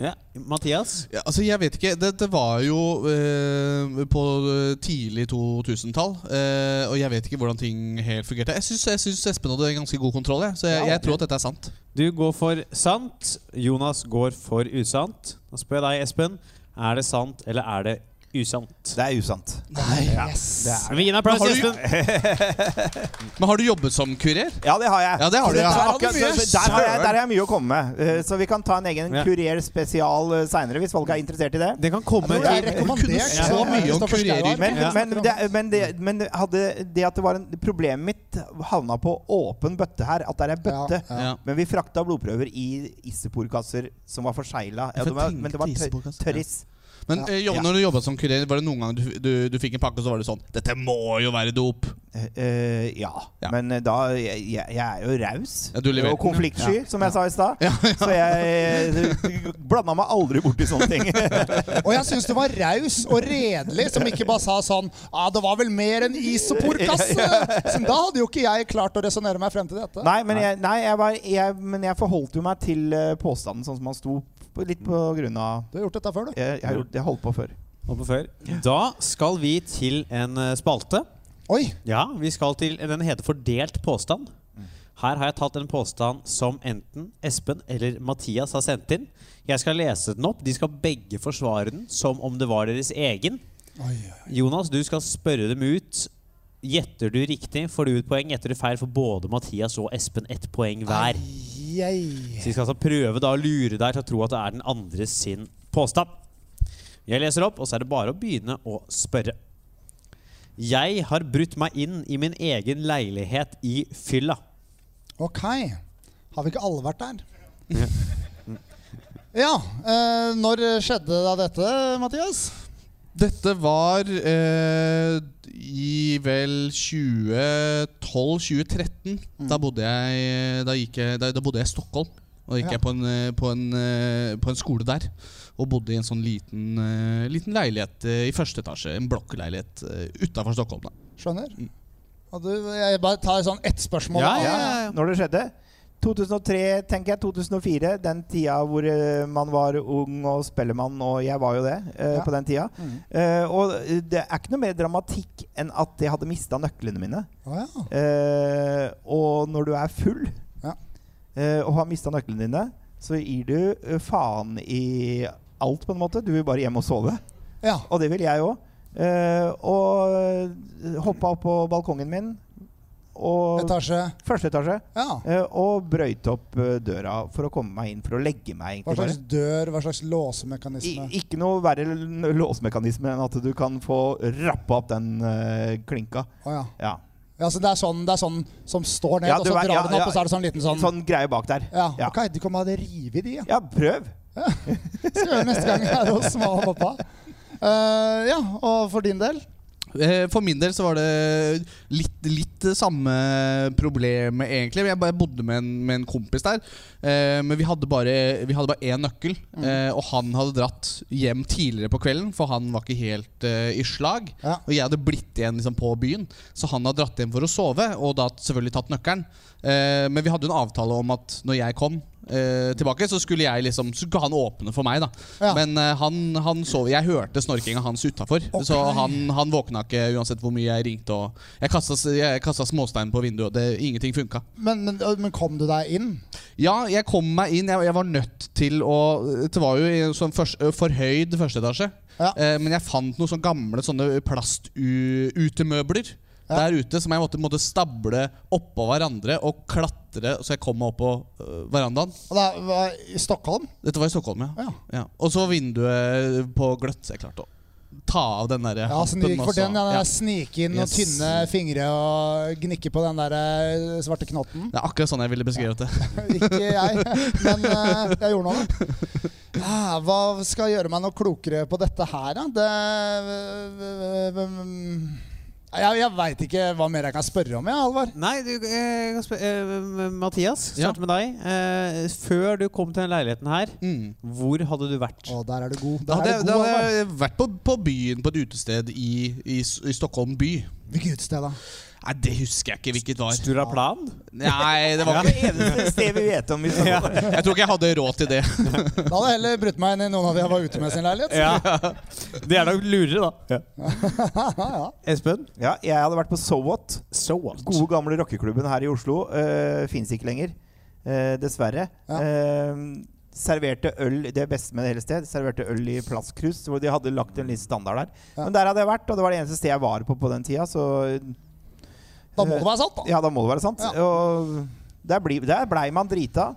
Speaker 2: Ja. Mathias?
Speaker 6: Ja, altså, jeg vet ikke. Det, det var jo eh, på eh, tidlig 2000-tall. eh, og jeg vet ikke hvordan ting helt fungerte. Jeg syns- Jeg syns Espen hadde ganske god kontroll, jeg, så jeg, jeg tror at dette er sant.
Speaker 2: Du går for sant. Jonas går for usant. Da spør jeg deg, Espen. Er det sant, eller er det usant?
Speaker 3: Det er usant.
Speaker 4: Yes.
Speaker 2: Men gi en applaus,
Speaker 6: Men har du-
Speaker 2: Espen.
Speaker 6: Men har du jobbet som kurer?
Speaker 3: Ja, det har jeg.
Speaker 6: Ja, det har
Speaker 3: Så
Speaker 6: du, ja.
Speaker 3: er
Speaker 6: Der har
Speaker 3: akkurat-
Speaker 4: du mye.
Speaker 3: så der, har jeg, der har jeg mye å komme med. Eh, Så vi kan ta en egen
Speaker 2: Ja.
Speaker 3: kurer spesial eh, seinere, hvis folk er interessert i det.
Speaker 2: Det kan komme
Speaker 4: Jeg tror det er
Speaker 2: til
Speaker 6: kunne
Speaker 4: rekommandert.
Speaker 6: så
Speaker 4: eh,
Speaker 6: mye om
Speaker 4: Kristoffer Schau her.
Speaker 6: kurering.
Speaker 3: Men,
Speaker 2: Ja.
Speaker 3: men, det, men, det, men hadde det at det var en, problemet mitt havna på åpen bøtte her. At det er ei bøtte.
Speaker 4: Ja.
Speaker 6: Ja.
Speaker 3: Men vi frakta blodprøver i isoporkasser som var forsegla.
Speaker 6: Ja, for
Speaker 3: Ja, det var-
Speaker 6: tenkte
Speaker 3: men det var tør,
Speaker 6: isoporkasser, ja.
Speaker 3: tørris.
Speaker 6: Men eh, jobb,
Speaker 3: Ja.
Speaker 6: når du jobbet som kurer, var det noen gang du, du, du fikk en pakke, og så var det sånn Dette må jo være dop!
Speaker 3: Eh, ja.
Speaker 6: Ja.
Speaker 3: Men eh, da Jeg, jeg jeg er jo raus.
Speaker 6: Ja, du leverte
Speaker 3: og konfliktsky, som jeg sa i stad.
Speaker 6: Ja, ja.
Speaker 3: Så jeg eh, blanda meg aldri borti sånne ting.
Speaker 4: Og jeg syns du var raus og redelig som ikke bare sa sånn Ja, det var vel mer enn isoporkasse! Så da hadde jo ikke jeg klart å resonnere meg frem til dette.
Speaker 3: Nei, men jeg, nei jeg var, jeg, men jeg forholdt jo meg til eh, påstanden sånn som han sto. på- Litt på grunn av
Speaker 4: Du har gjort dette før, du.
Speaker 3: Jeg, jeg, har gjort- jeg holdt på før.
Speaker 2: Oppe før. Da skal vi til en eh, spalte.
Speaker 4: Oi!
Speaker 2: Ja, vi skal til Den heter Fordelt påstand. Her har jeg tatt en påstand som enten Espen eller Mathias har sendt inn. Jeg skal lese den opp. De skal begge forsvare den som om det var deres egen.
Speaker 4: Oi,
Speaker 2: Jonas, du skal spørre dem ut. Gjetter du riktig, får du et poeng. Gjetter du feil, får både Mathias og Espen ett poeng hver. Så vi skal altså prøve da å lure deg til å tro at det er den andre sin påstand. Jeg leser opp, og så er det bare å begynne å spørre. Jeg har brutt meg inn i min egen leilighet i fylla.
Speaker 4: Ok. Har vi ikke alle vært der? Ja. Eh, når skjedde da dette, Mathias?
Speaker 6: Dette var eh, i vel 2012-2013. Da bodde jeg eh, da, gikk jeg da, da bodde jeg i Stockholm. Og da gikk
Speaker 4: Ja.
Speaker 6: jeg på en, eh, på, en, eh, på en skole der. Og bodde i en sånn liten, eh, liten leilighet eh, i første etasje. En blokkleilighet uh, utafor Stockholm. da
Speaker 4: Skjønner? Og du, jeg bare tar sånn ett spørsmål.
Speaker 2: Ja,
Speaker 4: da.
Speaker 2: ja, ja.
Speaker 3: Når det skjedde? 2003, tenker jeg. 2004. Den tida hvor eh, man var ung og spellemann, og jeg var jo det eh,
Speaker 4: Ja.
Speaker 3: på den tida.
Speaker 4: Mm.
Speaker 3: Eh, og det er ikke noe mer dramatikk enn at jeg hadde mista nøklene mine.
Speaker 4: Å, ja.
Speaker 3: Eh, og når du er full
Speaker 4: Ja.
Speaker 3: eh, og har mista nøklene dine, så gir du eh, faen i alt, på en måte. Du vil bare hjem og sove.
Speaker 4: ja.
Speaker 3: Og det vil jeg òg. og hoppa opp på balkongen min. Og
Speaker 4: Etasje.
Speaker 3: Første etasje.
Speaker 4: Ja.
Speaker 3: eh, Og brøyt opp eh, døra for å komme meg inn, for å legge meg.
Speaker 4: Hva
Speaker 3: egentlig
Speaker 4: slags
Speaker 3: bare.
Speaker 4: dør, hva slags
Speaker 3: I,
Speaker 4: låsemekanisme?
Speaker 3: ikke noe verre l- låsmekanisme enn at du kan få rappa opp den eh, klinka.
Speaker 4: Å, ja.
Speaker 3: Ja.
Speaker 4: Ja, så det er sånn, det er sånn som står ned,
Speaker 3: Ja,
Speaker 4: og
Speaker 3: du
Speaker 4: så
Speaker 3: vet-
Speaker 4: drar
Speaker 3: ja,
Speaker 4: den opp,
Speaker 3: ja.
Speaker 4: og så er det sånn liten sånn,
Speaker 3: Sånn greie bak der.
Speaker 4: ja,
Speaker 3: ja.
Speaker 4: ok, du kommer til å rive i de, ja.
Speaker 3: Ja, prøv!
Speaker 4: Skal jeg gjøre neste gang jeg er hos mamma og pappa. Eh, ja, og for din del?
Speaker 6: Eh, For min del så var det litt, litt det samme problemet, egentlig. Jeg bare bodde med en, med en kompis der. Eh, Men vi hadde bare Vi hadde bare én nøkkel,
Speaker 4: Mm.
Speaker 6: eh, og han hadde dratt hjem tidligere på kvelden, for han var ikke helt eh, i slag.
Speaker 4: Ja.
Speaker 6: Og jeg hadde blitt igjen liksom, på byen, så han hadde dratt hjem for å sove, og da selvfølgelig tatt nøkkelen. Eh, Men vi hadde jo en avtale om at når jeg kom eh, tilbake, så skulle jeg liksom Så skulle han åpne for meg, da.
Speaker 4: Ja.
Speaker 6: Men eh, han, han sov Jeg hørte snorkinga hans utafor, så han, han våkna ikke uansett hvor mye jeg ringte. Og jeg kasta, s- jeg kasta småstein på vinduet, og det, ingenting funka.
Speaker 4: Men, men, men kom du deg inn?
Speaker 6: Ja, jeg kom meg inn. Jeg, jeg var nødt til å Det var jo i en sånn først, forhøyd første etasje.
Speaker 4: Ja.
Speaker 6: Eh, men jeg fant noen sånne gamle sånne plastutemøbler der ute som jeg måtte, måtte stable oppå hverandre og klatre så jeg kom meg opp på øh, verandaen.
Speaker 4: Og da var jeg I Stockholm?
Speaker 6: Dette var i Stockholm, ja.
Speaker 4: Ja.
Speaker 6: ja. Og så vinduet på gløtt. Så jeg klarte å ta av den der
Speaker 4: Ja, så du gikk for den, ja, den der snike inn
Speaker 6: Yes.
Speaker 4: og tynne fingre og gnikke på den der eh, svarte knotten.
Speaker 6: Det er akkurat sånn jeg ville beskrevet det.
Speaker 4: Ikke jeg, men eh, jeg gjorde noe. av det. Ah, Hva skal gjøre meg noe klokere på dette her, da? Det eh, Jeg, jeg veit ikke hva mer jeg kan spørre om, jeg, Alvar.
Speaker 2: Nei, du, eh, kan spør- eh, Mathias,
Speaker 6: Ja.
Speaker 2: starte med deg. Eh, før du kom til denne leiligheten her,
Speaker 6: Mm.
Speaker 2: hvor hadde du vært?
Speaker 4: Å, der er du god.
Speaker 6: Da
Speaker 4: Der
Speaker 6: hadde,
Speaker 4: er
Speaker 6: jeg-
Speaker 4: du
Speaker 6: da
Speaker 4: god,
Speaker 6: hadde
Speaker 4: Alvar.
Speaker 6: jeg vært på, på byen på et utested i, i, S- i Stockholm by.
Speaker 4: Hvilket utsted, da?
Speaker 6: Nei, det husker jeg ikke hvilket var.
Speaker 2: Sturaplan?
Speaker 6: Nei, det var ikke
Speaker 3: eneste stedet vi vet om.
Speaker 2: Ja.
Speaker 6: Jeg tror ikke jeg hadde råd til det.
Speaker 4: Da hadde jeg heller brutt meg inn i noen av de jeg var ute med i sin leilighet.
Speaker 2: Det er nok lurere, da. Espen?
Speaker 3: Ja, jeg hadde vært på So What.
Speaker 2: So what?
Speaker 3: Gode gamle rockeklubben her i Oslo. Uh, Fins ikke lenger, eh, dessverre.
Speaker 4: Ja.
Speaker 3: Eh, serverte øl det beste med det hele sted. Serverte øl i plastkrus, hvor de hadde lagt en litt standard der.
Speaker 4: Ja.
Speaker 3: Men der hadde jeg vært, og det var det eneste stedet jeg var på på den tida. Så eh,
Speaker 4: Da må det være sant, da.
Speaker 3: ja, da må det være sant.
Speaker 4: Ja.
Speaker 3: Og der, bli, der blei man drita.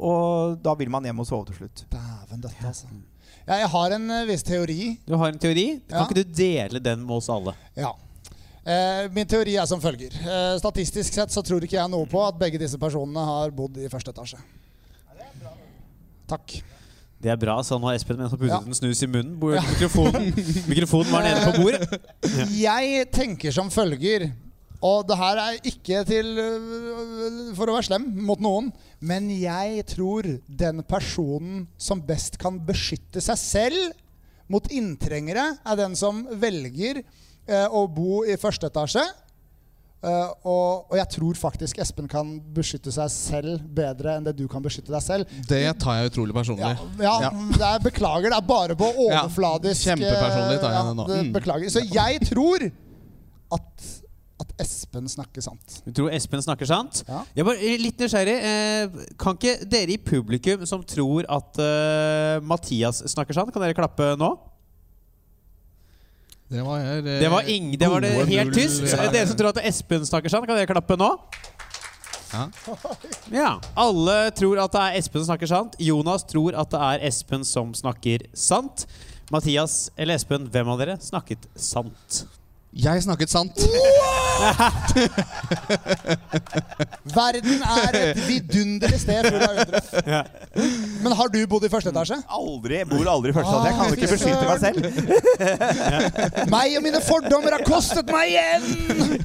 Speaker 3: Og da vil man hjem og sove til slutt.
Speaker 4: Dæven døtte, altså. Ja, jeg har en eh, viss teori.
Speaker 2: Du har en teori. Kan
Speaker 4: Ja.
Speaker 2: ikke du dele den med oss alle?
Speaker 4: Ja. Eh, min teori er som følger. Eh, statistisk sett så tror ikke jeg noe på at begge disse personene har bodd i første etasje. Takk.
Speaker 2: Det er bra. Sånn har Espen mens han puttet
Speaker 4: Ja.
Speaker 2: en snus i munnen. Bo- Mikrofonen, mikrofonen var nede på bordet.
Speaker 4: Jeg tenker som følger, og det her er ikke til øh, for å være slem mot noen, men jeg tror den personen som best kan beskytte seg selv mot inntrengere, er den som velger eh, å bo i første etasje. Eh, og, og jeg tror faktisk Espen kan beskytte seg selv bedre enn det du kan beskytte deg selv.
Speaker 6: Det tar jeg utrolig
Speaker 4: Ja,
Speaker 6: personlig.
Speaker 4: ja, mm,
Speaker 6: Ja.
Speaker 4: Det er, beklager, det er bare på overfladisk
Speaker 6: Ja, kjempepersonlig tar jeg
Speaker 4: eh,
Speaker 6: det nå.
Speaker 4: det-
Speaker 6: Mm.
Speaker 4: Beklager. Så jeg tror at, at Espen snakker sant.
Speaker 2: Du tror Espen snakker sant?
Speaker 4: Ja.
Speaker 2: Jeg er bare litt nysgjerrig. Eh, kan ikke dere i publikum som tror at eh, Mathias snakker sant, kan dere klappe nå?
Speaker 6: Det var, her, eh,
Speaker 2: Det var, ing det, var det
Speaker 6: gode
Speaker 2: helt
Speaker 6: null-
Speaker 2: tyst.
Speaker 6: Ja.
Speaker 2: Dere som tror at Espen snakker sant, kan dere klappe nå?
Speaker 6: Ja.
Speaker 2: Ja. Alle tror at det er Espen som snakker sant. Jonas tror at det er Espen som snakker sant. Mathias eller Espen, hvem av dere snakket sant?
Speaker 6: Jeg snakket sant.
Speaker 4: Verden er et vidunderlig sted. full av undre. Men har du bodd i første etasje?
Speaker 3: Aldri, Jeg bor aldri i første etasje. Jeg kan jo ikke
Speaker 4: Ah, fy
Speaker 3: beskytte meg
Speaker 4: søren.
Speaker 3: selv.
Speaker 4: Meg og mine fordommer har kostet meg igjen!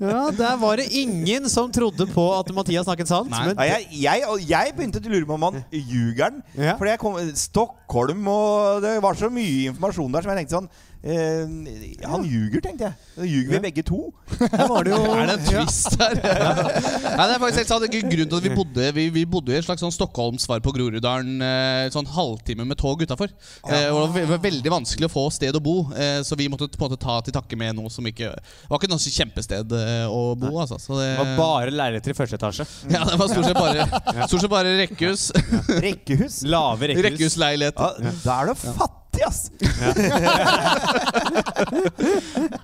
Speaker 2: Ja, Der var det ingen som trodde på at Mathias snakket sant.
Speaker 6: Nei.
Speaker 3: Ja, jeg, jeg, og jeg begynte å lure på om han ljuger.
Speaker 2: Ja.
Speaker 3: Fordi jeg kom Stockholm og Det var så mye informasjon der som jeg tenkte sånn eh, Han ljuger, tenkte jeg. Da ljuger vi begge to.
Speaker 6: Er det en twist her? Nei, det er faktisk helt sant. Det er ikke grunn til at Vi bodde Vi, vi bodde i et slags sånn Stockholm-svar på Groruddalen. eh, Sånn halvtime med tog utafor. Det var ve- var veldig vanskelig å få sted å bo, eh, så vi måtte på en måte ta til takke med noe som ikke Det var ikke noe sånn kjempested eh, å bo, altså. Så
Speaker 2: Det
Speaker 6: det,
Speaker 2: var bare leiligheter i første etasje.
Speaker 6: ja, det var stort sett bare, stort sett bare rekkehus.
Speaker 3: Rekkehus.
Speaker 2: Lave rekkehus.
Speaker 6: Rekkehusleilighet.
Speaker 3: Ja, da er du fattig, ass!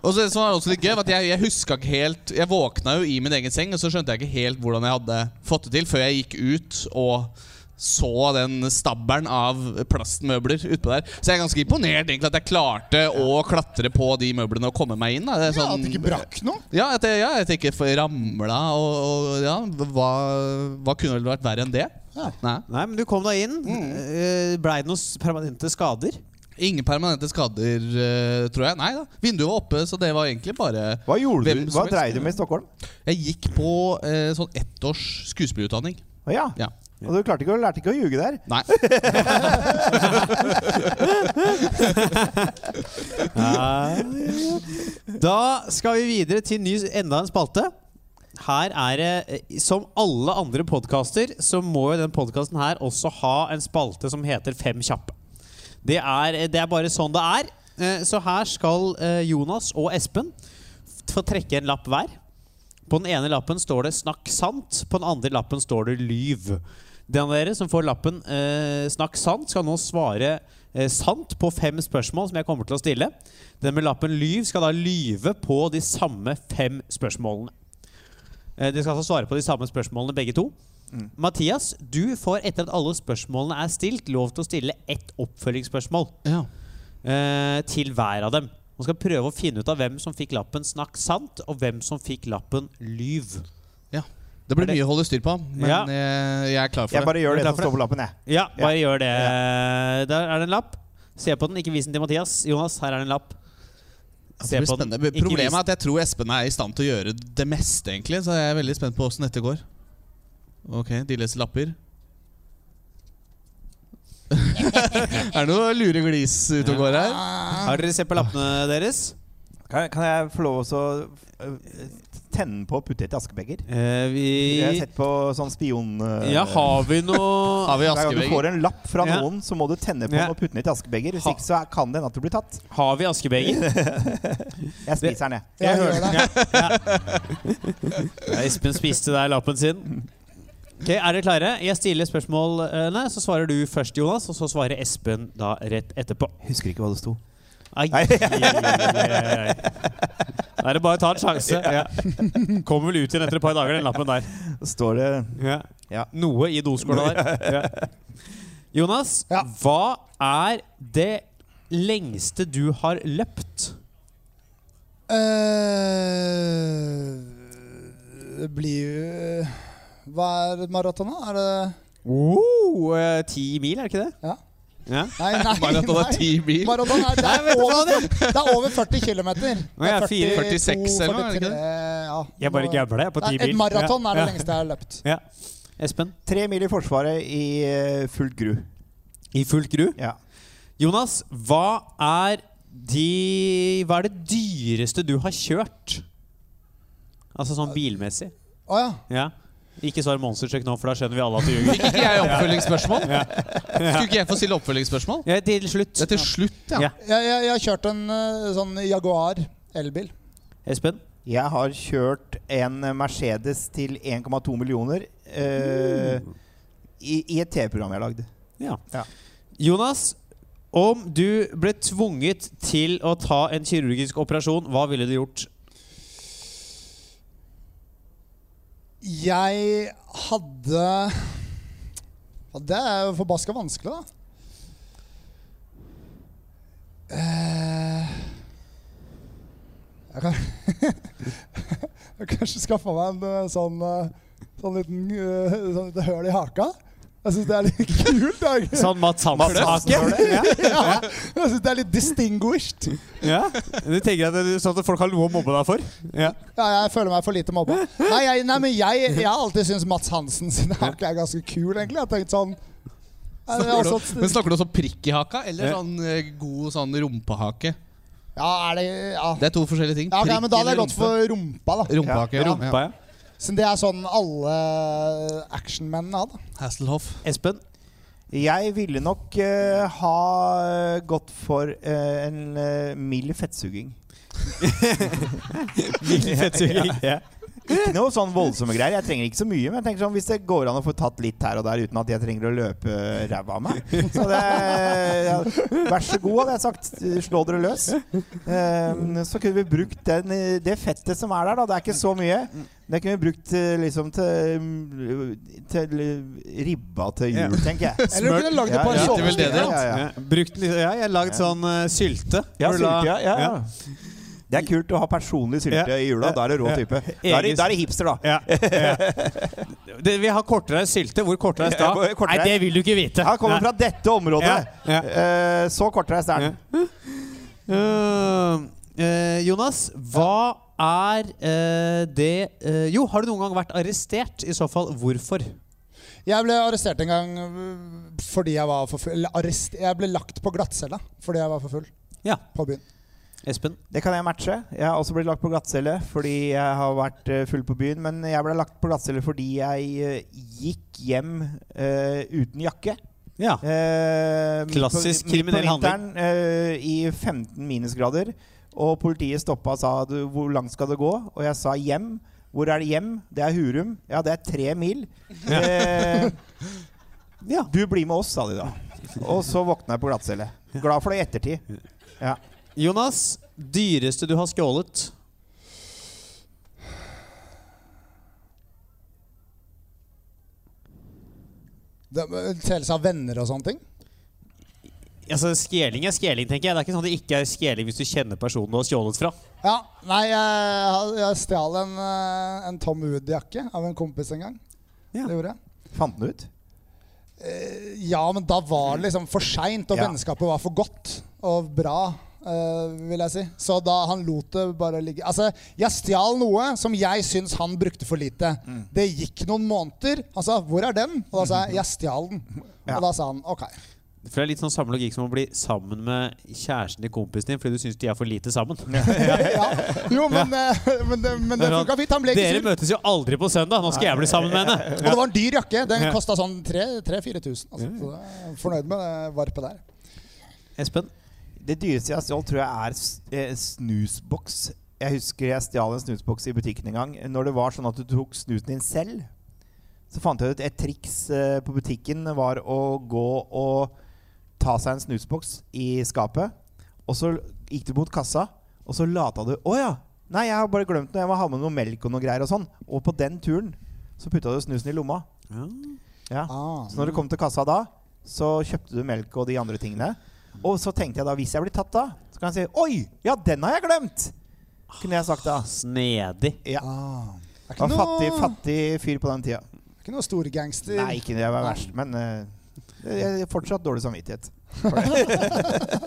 Speaker 6: Og så, så var det også litt gøy for at jeg, jeg huska ikke helt Jeg våkna jo i min egen seng, og så skjønte jeg ikke helt hvordan jeg hadde fått det til, før jeg gikk ut og så den stabbelen av plastmøbler utpå der. Så jeg er ganske imponert egentlig at jeg klarte å klatre på de møblene og komme meg inn. Da. Det
Speaker 4: Ja,
Speaker 6: er
Speaker 4: at
Speaker 6: sånn,
Speaker 4: det ikke brakk noe.
Speaker 6: ja, at jeg, ja, at jeg ikke f- ramla og, og ja, hva, hva kunne vel vært verre enn det?
Speaker 4: Ja.
Speaker 6: Nei. Mm.
Speaker 2: Nei, men du kom deg inn. Eh, Blei det noen s- permanente skader?
Speaker 6: Ingen permanente skader, eh, tror jeg. Nei da. Vinduet var oppe, så det var egentlig bare
Speaker 3: Hva gjorde
Speaker 6: Hvem
Speaker 3: du?
Speaker 6: som
Speaker 3: Hva
Speaker 6: helst
Speaker 3: dreide
Speaker 6: kunne-
Speaker 3: du med i Stockholm?
Speaker 6: Jeg gikk på eh, sånn ettårs skuespillerutdanning.
Speaker 3: Å ja.
Speaker 6: Ja.
Speaker 3: Og du klarte ikke, å- lærte ikke å ljuge der?
Speaker 6: Nei.
Speaker 2: Da skal vi videre til ny, enda en spalte. Her er det, eh, som alle andre podkaster, så må jo den podkasten her også ha en spalte som heter Fem kjappe. Det er, det er bare sånn det er. Eh, Så her skal eh, Jonas og Espen f- få trekke en lapp hver. På den ene lappen står det 'snakk sant', på den andre lappen står det 'lyv'. Den av dere som får lappen eh, 'snakk sant', skal nå svare eh, sant på fem spørsmål som jeg kommer til å stille. Den med lappen 'lyv' skal da lyve på de samme fem spørsmålene. Eh, dere skal altså svare på de samme spørsmålene begge to. Mathias, du får etter at alle spørsmålene er stilt, lov til å stille ett oppfølgingsspørsmål
Speaker 6: Ja.
Speaker 2: eh, til hver av dem. Man skal prøve å finne ut av hvem som fikk lappen 'snakk sant', og hvem som fikk lappen 'lyv'.
Speaker 6: ja. Det blir
Speaker 2: Er det-
Speaker 6: mye å holde styr på, men eh,
Speaker 2: Ja.
Speaker 6: jeg, jeg er klar for
Speaker 3: Jeg bare
Speaker 2: Er
Speaker 3: gjør
Speaker 2: du
Speaker 3: det
Speaker 2: klar
Speaker 3: som
Speaker 2: for det?
Speaker 3: står på lappen, jeg.
Speaker 2: Ja, bare gjør det. Der er det en lapp. Se på den, ikke vis den til Mathias. Jonas, her er det en lapp.
Speaker 6: Altså, det. det blir spennende.
Speaker 2: Ikke vis
Speaker 6: Problemet er at jeg tror Espen er i stand til å gjøre det meste, egentlig. Så jeg er veldig spent på åssen dette går. Ok, de leser lapper. er det noe lure glis ute og går her?
Speaker 2: Har dere sett på lappene deres?
Speaker 3: Kan, kan jeg få lov å øh, tenne på og putte i et askebeger?
Speaker 2: Eh, vi
Speaker 3: Jeg har sett på sånn spion... øh,
Speaker 2: Ja, har vi
Speaker 6: Har
Speaker 2: noe
Speaker 6: vi
Speaker 3: Hver gang du
Speaker 6: askebeger?
Speaker 3: får en lapp fra
Speaker 2: Ja.
Speaker 3: noen, så må du tenne på
Speaker 2: Ja.
Speaker 3: den og putte den i et askebeger. Hvis
Speaker 2: Ha-
Speaker 3: ikke så er- kan det hende at du blir tatt.
Speaker 2: Har vi askebeger?
Speaker 3: Jeg spiser den, jeg.
Speaker 4: Jeg hører det.
Speaker 2: Ja, Espen spiste der lappen sin. Ok, Er dere klare? Jeg stiller spørsmålene, så svarer du først, Jonas. Og så svarer Espen da rett etterpå.
Speaker 3: Husker ikke hva det sto.
Speaker 2: Ai, ai, ai. Da er det bare å ta en sjanse. Ja. Kommer vel ut igjen etter et par dager, den lappen der.
Speaker 3: Står det
Speaker 2: Ja.
Speaker 3: Ja.
Speaker 2: Noe i doskåla der. Ja. Jonas,
Speaker 4: Ja.
Speaker 2: hva er det lengste du har løpt?
Speaker 4: Eh, Det blir jo Hva er maraton, da? Er det
Speaker 2: Oh, ti mil, er det ikke det?
Speaker 4: Ja.
Speaker 2: Ja.
Speaker 4: Nei, nei,
Speaker 6: Maraton er
Speaker 4: nei.
Speaker 6: ti mil.
Speaker 4: Maraton er, det, er over, det er over 40 km.
Speaker 2: Nå er jeg fire-
Speaker 6: 46 eller noe, er det ikke det?
Speaker 4: Ja,
Speaker 2: Jeg bare gambler, jeg, på
Speaker 4: Nei,
Speaker 2: ti
Speaker 4: Et
Speaker 2: mil.
Speaker 4: maraton er det
Speaker 2: Ja.
Speaker 4: lengste jeg har løpt.
Speaker 2: Ja. Espen?
Speaker 3: Tre mil i Forsvaret i eh, fullt gru.
Speaker 2: I fullt gru.
Speaker 3: Ja.
Speaker 2: Jonas, hva er de Hva er det dyreste du har kjørt? Altså sånn bilmessig.
Speaker 4: Å ja.
Speaker 2: Ja. Ikke svar monstertruck nå, for da skjønner vi alle at du ljuger.
Speaker 6: Fikk ikke jeg oppfølgingsspørsmål? Skulle ikke jeg få stille oppfølgingsspørsmål?
Speaker 2: Ja, til slutt.
Speaker 6: Det er til slutt,
Speaker 2: Ja.
Speaker 6: ja.
Speaker 4: Jeg, jeg, jeg har kjørt en eh, sånn Jaguar elbil.
Speaker 2: Espen?
Speaker 3: Jeg har kjørt en Mercedes til 1,2 millioner eh, i, i et TV-program jeg lagde.
Speaker 2: Ja.
Speaker 3: Ja.
Speaker 2: Jonas, om du ble tvunget til å ta en kirurgisk operasjon, hva ville du gjort?
Speaker 4: Jeg hadde Ja, Det er jo forbaska vanskelig, da. Eh, Jeg kan Jeg kanskje skaffa meg en eh, sånn, eh, sånn liten eh, sånn lite høl i haka. Jeg syns det er litt kult. da.
Speaker 2: Sånn Mats Hansen-hake? Ja.
Speaker 4: Ja, jeg syns det er litt distinguished.
Speaker 2: Ja. Du tenker at, det- sånn at folk har noe å mobbe deg for? Ja.
Speaker 4: Ja, jeg føler meg for lite mobba. Nei, jeg, nei men jeg, jeg har alltid syntes Mats Hansen sin hake er ganske kul, egentlig. Jeg har tenkt sånn ja, det er altså-
Speaker 6: Snakker du,
Speaker 4: også-
Speaker 6: men snakker du også prikk i haka, eller
Speaker 2: Ja.
Speaker 6: sånn eh, god sånn rumpehake?
Speaker 4: Ja, er det Ja,
Speaker 6: Det er to forskjellige ting.
Speaker 4: ja ok,
Speaker 6: Prikk
Speaker 4: men da hadde jeg
Speaker 6: eller
Speaker 4: gått for rumpa, da.
Speaker 6: rumpehake. Ja.
Speaker 2: Rumpa, ja.
Speaker 4: Siden det er sånn alle actionmennene hadde.
Speaker 6: Hasselhoff.
Speaker 2: Espen?
Speaker 3: Jeg ville nok eh, ha gått for eh, en eh, mild fettsuging.
Speaker 2: Fettsuging. Ja.
Speaker 3: Ikke noe sånn voldsomme greier. Jeg trenger ikke så mye, men jeg tenker sånn hvis det går an å få tatt litt her og der uten at jeg trenger å løpe ræva av meg. Så det ja, Vær så god, hadde jeg sagt. Slå dere løs. Ehm, så kunne vi brukt den, eh, det fettet som er der, da. Det er ikke så mye. Det kunne vi brukt eh, liksom til, mm, til eh, ribba til
Speaker 2: Ja.
Speaker 3: jul, tenker jeg.
Speaker 4: Eller du
Speaker 2: Smørt.
Speaker 4: kunne lagd det
Speaker 3: Ja,
Speaker 4: på en
Speaker 6: ja, det er vel det
Speaker 4: såpestykke.
Speaker 6: det
Speaker 4: da.
Speaker 3: Ja, ja.
Speaker 2: Ja. Brukt, litt- ja, jeg har lagd sånn eh, sylte.
Speaker 3: Ja,
Speaker 2: Hvor du la-
Speaker 3: sylte, ja, ja, ja. Det er kult å ha personlig sylte
Speaker 2: Ja.
Speaker 3: i jula. Da er det rå
Speaker 2: Ja.
Speaker 3: type. Da er det,
Speaker 2: Eges-
Speaker 3: da er det hipster, da.
Speaker 2: Ja. Det, vi har kortreist sylte. Hvor kortreist da?
Speaker 3: Ja, hvor
Speaker 2: Nei,
Speaker 3: kortreist?
Speaker 2: det vil du ikke vite.
Speaker 3: Han kommer
Speaker 2: Nei.
Speaker 3: fra dette området.
Speaker 2: Ja, ja.
Speaker 3: Eh, så kortreist er den.
Speaker 2: Øh, øh, Jonas, hva er øh, det øh, Jo, har du noen gang vært arrestert? I så fall, hvorfor?
Speaker 4: Jeg ble arrestert en gang øh, fordi jeg var for full. Eller arrest, jeg ble lagt på glattcella fordi jeg var for full
Speaker 2: Ja,
Speaker 4: på byen.
Speaker 2: Espen.
Speaker 3: Det kan jeg matche. Jeg har også blitt lagt på glattcelle fordi jeg har vært eh, full på byen. Men jeg ble lagt på glattcelle fordi jeg eh, gikk hjem eh, uten jakke.
Speaker 2: Ja.
Speaker 3: Eh, midt på-
Speaker 2: Klassisk
Speaker 3: midt på
Speaker 2: kriminell
Speaker 3: vinteren, eh, I 15 minusgrader. Og politiet stoppa og sa du, hvor langt skal det gå? Og jeg sa hjem. Hvor er det hjem? Det er Hurum. Ja, det er tre mil. Eh,
Speaker 2: Ja.
Speaker 3: Du blir med oss, sa de da. Og så våkna jeg på glattcelle. Glad for det i ettertid. Ja.
Speaker 2: Jonas, dyreste du har skjålet?
Speaker 4: Det Telles av venner og sånne ting.
Speaker 2: Altså, Skjeling er skjeling, tenker jeg. Det er ikke sånn at det ikke er skjeling hvis du kjenner personen du har stjålet fra.
Speaker 4: Ja, Nei, jeg, jeg stjal en, øh, en Tom Wood-jakke av en kompis en gang.
Speaker 2: Ja.
Speaker 4: Det gjorde jeg.
Speaker 3: Fant den ut?
Speaker 4: Ja, men da var det liksom for seint, og
Speaker 3: Ja.
Speaker 4: vennskapet var for godt og bra. eh, vil jeg si. Så da han lot det bare ligge Altså, jeg stjal noe som jeg syns han brukte for lite.
Speaker 3: Mm.
Speaker 4: Det gikk noen måneder. Han sa 'Hvor er den?' Og da sa jeg 'Jeg stjal den'.
Speaker 3: Ja.
Speaker 4: Og da sa han 'OK'.
Speaker 2: For Det er litt sånn samme logikk som å bli sammen med kjæresten til kompisen din fordi du syns de er for lite sammen.
Speaker 4: ja. Jo, men, eh, men, det- men det funka fint. Han ble ikke
Speaker 2: Dere
Speaker 4: sur.
Speaker 2: møtes jo aldri på søndag. Nå skal jeg bli sammen med henne.
Speaker 4: Og det var en dyr jakke. Den kosta sånn 3000-4000. Altså, så jeg er fornøyd med det varpet der.
Speaker 2: Espen?
Speaker 3: Det dyreste jeg har stjålet, tror jeg er s- eh, snusboks. Jeg husker jeg stjal en snusboks i butikken en gang. Når det var sånn at du tok snusen din selv, så fant jeg ut et triks eh, på butikken var å gå og ta seg en snusboks i skapet. Og så gikk du mot kassa, og så lata du 'Å ja, nei, jeg har bare glemt noe. Jeg må ha med noe melk og noe greier.' Og sånn. Og på den turen så putta du snusen i lomma. Ja.
Speaker 4: Ah.
Speaker 3: Så når du kom til kassa da, så kjøpte du melk og de andre tingene. Og så tenkte jeg da, hvis jeg blir tatt da, så kan jeg si Oi! Ja, den har jeg glemt! Kunne jeg sagt da.
Speaker 2: Snedig.
Speaker 3: Ja.
Speaker 4: Ah. Det er
Speaker 3: Jeg
Speaker 4: ikke
Speaker 3: var fattig,
Speaker 4: noe,
Speaker 3: fattig fyr på den
Speaker 4: det
Speaker 3: tida.
Speaker 4: er ikke noe storgangster.
Speaker 3: Nei, ikke det jeg var verst, men eh, jeg har fortsatt dårlig samvittighet. For det.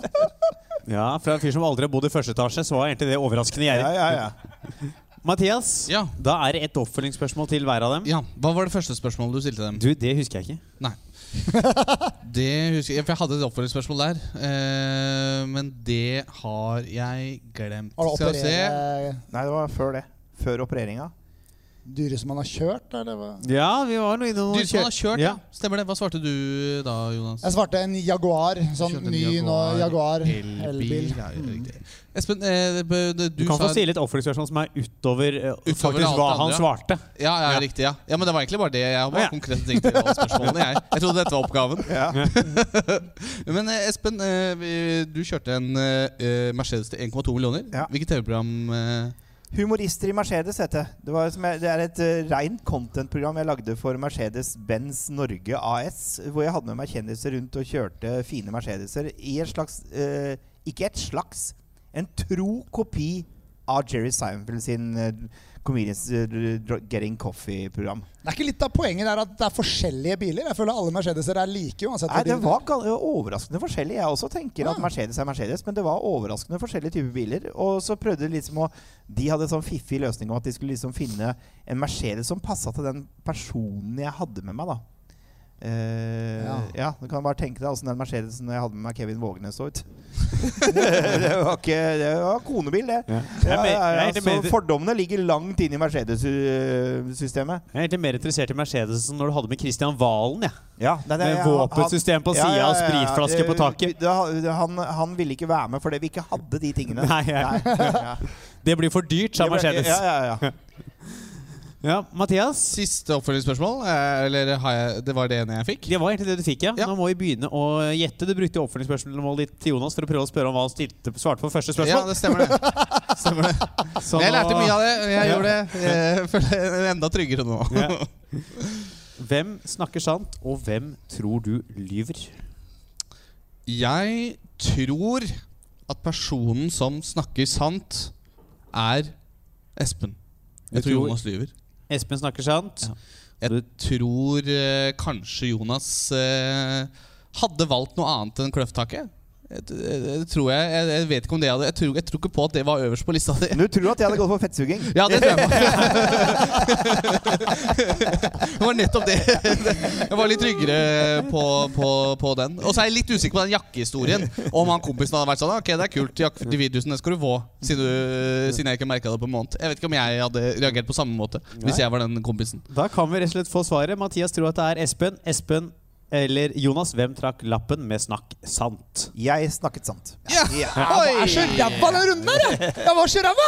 Speaker 2: Ja, Fra en fyr som aldri har bodd i første etasje, så var egentlig det overraskende gjerrig.
Speaker 3: Ja, ja, ja.
Speaker 2: Mathias,
Speaker 6: Ja.
Speaker 2: da er det et oppfølgingsspørsmål til hver av dem.
Speaker 6: Ja, Hva var det første spørsmålet du stilte dem?
Speaker 2: Du, det husker jeg ikke.
Speaker 6: Nei. Det husker jeg, for jeg hadde et oppfølgingsspørsmål der. eh, men det har jeg glemt.
Speaker 4: Har du
Speaker 6: Skal vi se.
Speaker 4: operert eh,
Speaker 3: Nei, det var før det. Før opereringa.
Speaker 4: dyre som man har kjørt, eller hva?
Speaker 2: Ja, vi var nå innom
Speaker 6: Du som har kjørt, ja.
Speaker 2: Ja.
Speaker 6: Stemmer det. Hva svarte du da, Jonas?
Speaker 4: Jeg svarte en Jaguar. Sånn
Speaker 6: Kjørte en
Speaker 4: ny nå, Jaguar elbil. Mm.
Speaker 6: Ja, ja, riktig. Espen, eh, b- du,
Speaker 2: Du kan
Speaker 6: sa
Speaker 2: få stille et oppfølgingsspørsmål som er utover, eh,
Speaker 6: Utover
Speaker 2: faktisk
Speaker 6: alt
Speaker 2: hva
Speaker 6: det
Speaker 2: han
Speaker 6: andre,
Speaker 2: svarte.
Speaker 6: ja, ja, riktig. Ja. ja, men det var egentlig bare det. Jeg har
Speaker 2: Å,
Speaker 6: bare
Speaker 2: ja.
Speaker 6: konkrete ting til alle spørsmålene. Jeg Jeg trodde dette var oppgaven.
Speaker 3: Ja.
Speaker 6: Men eh, Espen, eh, vi- du kjørte en eh, Mercedes til 1,2 millioner.
Speaker 3: Ja.
Speaker 6: Hvilket TV-program eh,
Speaker 3: Humorister i Mercedes heter det. Det, var som jeg, det er et uh, reint content-program jeg lagde for Mercedes-Benz Norge AS. Hvor jeg hadde med meg kjendiser rundt og kjørte fine Mercedeser i en slags eh, Ikke et slags, en tro kopi av Jerry Seinfeld sin uh, Comedians eh, Dr- Getting Coffee-program.
Speaker 4: Det er ikke litt av poenget der at det er forskjellige biler? Jeg føler alle Mercedeser er like uansett.
Speaker 3: Nei,
Speaker 4: hva
Speaker 3: Altså, det
Speaker 4: de-
Speaker 3: var gal- overraskende forskjellig. Jeg også tenker at
Speaker 4: Ah.
Speaker 3: Mercedes er Mercedes, men det var overraskende forskjellige typer biler. Og så prøvde de liksom å De hadde en sånn fiffig løsning om at de skulle liksom finne en Mercedes som passa til den personen jeg hadde med meg, da. Eh, ja.
Speaker 4: Ja.
Speaker 3: Du kan bare tenke deg åssen den Mercedesen jeg hadde med meg Kevin Vågenes så ut. det var ikke Det var konebil, det. Ja.
Speaker 2: Jeg er
Speaker 3: Ja,
Speaker 2: mer-
Speaker 3: ja,
Speaker 2: jeg er egentlig
Speaker 3: Så
Speaker 2: mer-
Speaker 3: fordommene ligger langt inne i Mercedes-systemet.
Speaker 2: Jeg er egentlig mer interessert i Mercedesen når du hadde med Christian Valen. Ja.
Speaker 3: Ja, nei, det-
Speaker 2: Med
Speaker 3: jeg-
Speaker 2: våpensystem på
Speaker 3: han-
Speaker 2: siden og spritflaske
Speaker 3: Eh,
Speaker 2: på taket.
Speaker 3: Det- det- han, han ville ikke være med fordi vi ikke hadde de tingene.
Speaker 2: Nei, jeg-
Speaker 3: ja.
Speaker 2: Det blir for dyrt, sa Mercedes.
Speaker 3: Ja,
Speaker 2: Ja,
Speaker 3: ja, ja.
Speaker 2: Mathias,
Speaker 6: Siste oppfølgingsspørsmål. eh, Eller har jeg, det var det ene jeg fikk?
Speaker 2: det var egentlig det du fikk, ja.
Speaker 6: Ja.
Speaker 2: Nå må vi begynne å gjette. Du brukte jo oppfølgingsspørsmålet ditt til Jonas for å prøve å spørre om hva han stilte, svarte på første
Speaker 6: Ja,
Speaker 2: spørsmål.
Speaker 6: det stemmer det. Stemmer det.
Speaker 2: Så
Speaker 6: jeg
Speaker 2: nå-
Speaker 6: lærte mye av det. Jeg gjorde det. Jeg føler meg enda tryggere nå.
Speaker 2: Ja. Hvem snakker sant, og hvem tror du lyver?
Speaker 6: Jeg tror at personen som snakker sant, er Espen. Jeg
Speaker 2: Du
Speaker 6: tror
Speaker 2: tror-
Speaker 6: Jonas lyver.
Speaker 2: Espen snakker sant.
Speaker 6: Ja. Jeg tror eh, kanskje Jonas eh, hadde valgt noe annet enn kløfttaket. Jeg, jeg, jeg, tror jeg, jeg, jeg vet ikke om det hadde jeg tror, jeg tror ikke på at det var øverst på lista di.
Speaker 3: Men du tror at jeg hadde gått for fettsuging?
Speaker 6: Ja, det tror jeg på. det var nettopp det. Jeg var litt tryggere på, på, på den. Og så er jeg litt usikker på den jakkehistorien. Om han kompisen hadde vært sånn Ok, det er kult, jakke for 40 000, det skal du få. Siden, du, siden jeg ikke merka det på en måned. Jeg vet ikke om jeg hadde reagert på samme måte hvis jeg var den kompisen.
Speaker 2: Da kan vi rett og slett få svaret. Mathias tror at det er Espen. Espen eller Jonas, hvem trakk lappen med 'snakk sant'?
Speaker 3: Jeg snakket sant.
Speaker 6: Ja.
Speaker 4: Jeg er så ræva den runden her, jeg! Jeg var så ræva!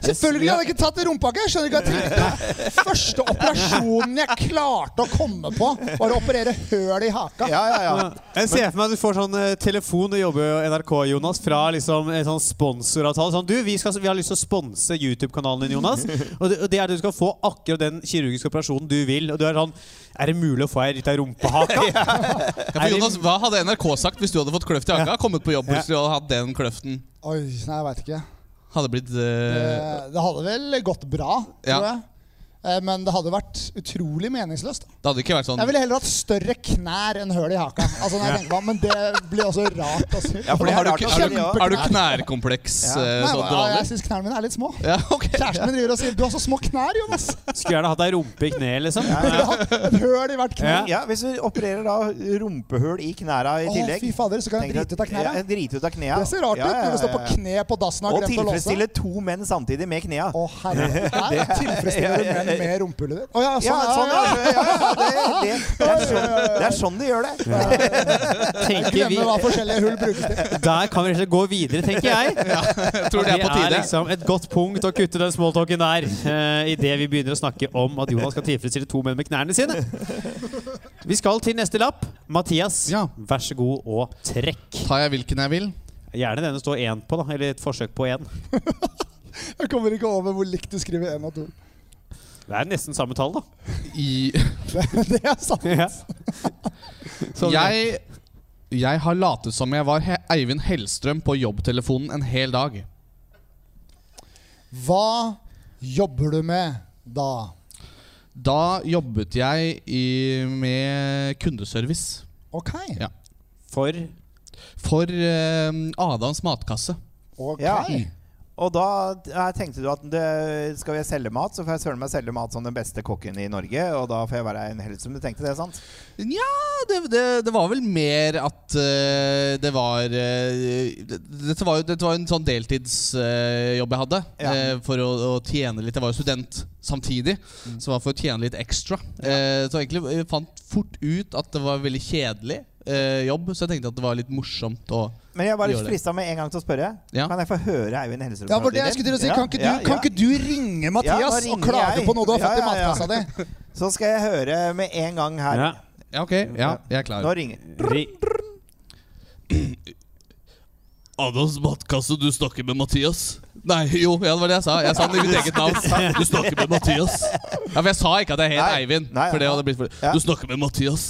Speaker 4: Selvfølgelig hadde jeg ikke tatt rumpakke. Jeg skjønner ikke hva jeg tenkte. Første operasjonen jeg klarte å komme på, var å operere høl i haka.
Speaker 3: Ja, ja, ja.
Speaker 2: Jeg ser for meg at du får sånn eh, telefon, du jobber jo i NRK, Jonas, fra liksom en sånn sponsoravtale. Sånn, du, vi, skal, vi har lyst til å sponse YouTube-kanalen din, Jonas. Og det, og det er at du skal få akkurat den kirurgiske operasjonen du vil. Og du er sånn Er det mulig å få ei lita rumpehaka?
Speaker 6: Ja, for Jonas, Hva hadde NRK sagt hvis du hadde fått kløft i haka? Kommet på jobb plutselig og hatt den kløften?
Speaker 4: Oi, nei, jeg veit ikke.
Speaker 6: Hadde blitt
Speaker 4: Det,
Speaker 6: eh,
Speaker 4: det hadde vel gått bra,
Speaker 6: Ja.
Speaker 4: tror jeg. Eh, Men det hadde vært utrolig meningsløst. da.
Speaker 6: Det hadde ikke vært sånn
Speaker 4: Jeg ville heller hatt større knær enn høl i haka. Altså, når jeg tenker meg, om, Men det blir også rart. å si.
Speaker 3: Ja, for det
Speaker 6: har
Speaker 3: er
Speaker 6: du,
Speaker 3: rart
Speaker 6: ikke-
Speaker 3: å
Speaker 6: har
Speaker 3: si
Speaker 6: du,
Speaker 3: det også.
Speaker 6: har du knærkompleks
Speaker 3: Ja.
Speaker 6: eh,
Speaker 4: Nei,
Speaker 6: sånn
Speaker 4: men,
Speaker 6: dråler?
Speaker 4: jeg syns knærne mine er litt små.
Speaker 6: Ja, ok.
Speaker 4: Kjæresten min driver og sier 'du har så små knær', Jonas.
Speaker 2: Skulle gjerne hatt ei rumpe i kneet, liksom.
Speaker 4: Jeg ville hatt et høl i hvert kne.
Speaker 2: Ja.
Speaker 3: Ja, Hvis du opererer da rumpehull i knæra i
Speaker 4: Å,
Speaker 3: tillegg
Speaker 4: fy fader, så kan jeg
Speaker 3: tenker
Speaker 4: drite ut av knæra.
Speaker 3: Ja, drite ut av knæa.
Speaker 4: Det ser rart ut
Speaker 3: Ja, ja,
Speaker 4: når du står på
Speaker 3: ja, ja.
Speaker 4: kne på dassen og
Speaker 3: Og
Speaker 4: har glemt å låse.
Speaker 3: tilfredsstille to menn samtidig med knea.
Speaker 4: Å, herre. Det er tilfredsstillende menn med rumpehullet ditt. Å ja,
Speaker 3: Ja,
Speaker 4: sånn, ja,
Speaker 3: sånn,
Speaker 4: ja,
Speaker 3: ja, ja, ja, det, det, det, er sånn, det er sånn de gjør det.
Speaker 4: Jeg
Speaker 2: Tenker vi,
Speaker 4: glemmer hva forskjellige hull brukes til.
Speaker 2: der kan vi rett og slett gå videre, tenker jeg.
Speaker 6: Jeg tror det er på
Speaker 2: Det er
Speaker 6: tide.
Speaker 2: liksom et godt punkt å kutte den smalltalken der. Uh, Idet vi begynner å snakke om at Jonas skal tilfredsstille to menn med knærne sine. Vi skal til neste lapp. Mathias,
Speaker 6: Ja.
Speaker 2: vær så god og trekk.
Speaker 6: Tar jeg hvilken jeg vil?
Speaker 2: Gjerne den det står én på, da. Eller et forsøk på én.
Speaker 4: Jeg kommer ikke over hvor likt du skriver én og to.
Speaker 2: Det er nesten samme tall, da.
Speaker 6: I
Speaker 4: Det er sant.
Speaker 2: Sånn.
Speaker 6: Jeg, jeg har latet som jeg var He Eivind Hellstrøm på jobbtelefonen en hel dag.
Speaker 4: Hva jobber du med da?
Speaker 6: Da jobbet jeg i, med kundeservice
Speaker 4: OK.
Speaker 6: Ja.
Speaker 2: For
Speaker 6: for eh, Adams matkasse.
Speaker 4: Ok.
Speaker 3: Ja. Og da eh, tenkte du at det, skal jeg selge mat, så får jeg søren meg selge mat som den beste kokken i Norge. Og da får jeg være en helt som du tenkte det, sant?
Speaker 6: Nja, det, det, det var vel mer at eh, det var eh, det- Dette var jo dette var jo en sånn deltidsjobb jeg hadde
Speaker 3: Ja.
Speaker 6: eh, for å, å tjene litt. Jeg var jo student samtidig,
Speaker 3: Mm.
Speaker 6: så det var for å tjene litt ekstra. Eh, så egentlig eh, fant fort ut at det var veldig kjedelig eh, jobb, så jeg tenkte at det var litt morsomt å
Speaker 3: Men jeg er bare
Speaker 6: Gjør det.
Speaker 3: frista med en gang til å spørre.
Speaker 6: Ja.
Speaker 3: Kan jeg få høre Eivind Helserud?
Speaker 4: Ja, for det jeg skulle til å si, Kan ikke du, kan ikke du ringe
Speaker 3: Ja, da
Speaker 4: Mathias og
Speaker 3: ringer
Speaker 4: klage
Speaker 3: jeg.
Speaker 4: på noe du har fått i
Speaker 3: Ja, ja, ja.
Speaker 4: matkassa di?
Speaker 3: Så skal jeg høre med en gang her.
Speaker 2: ja.
Speaker 6: Ja, ok. Ja, jeg er klar.
Speaker 3: Nå ringer
Speaker 2: Ri
Speaker 6: Adams matkasse, du snakker med Mathias? Nei, jo, ja, det var det jeg sa. Jeg sa det i mitt eget navn. Du snakker med Mathias. Ja, For jeg sa ikke at jeg het
Speaker 3: Nei.
Speaker 6: Eivind.
Speaker 3: Nei,
Speaker 6: for det
Speaker 3: ja.
Speaker 6: hadde blitt for...
Speaker 3: Ja.
Speaker 6: Du snakker med Mathias,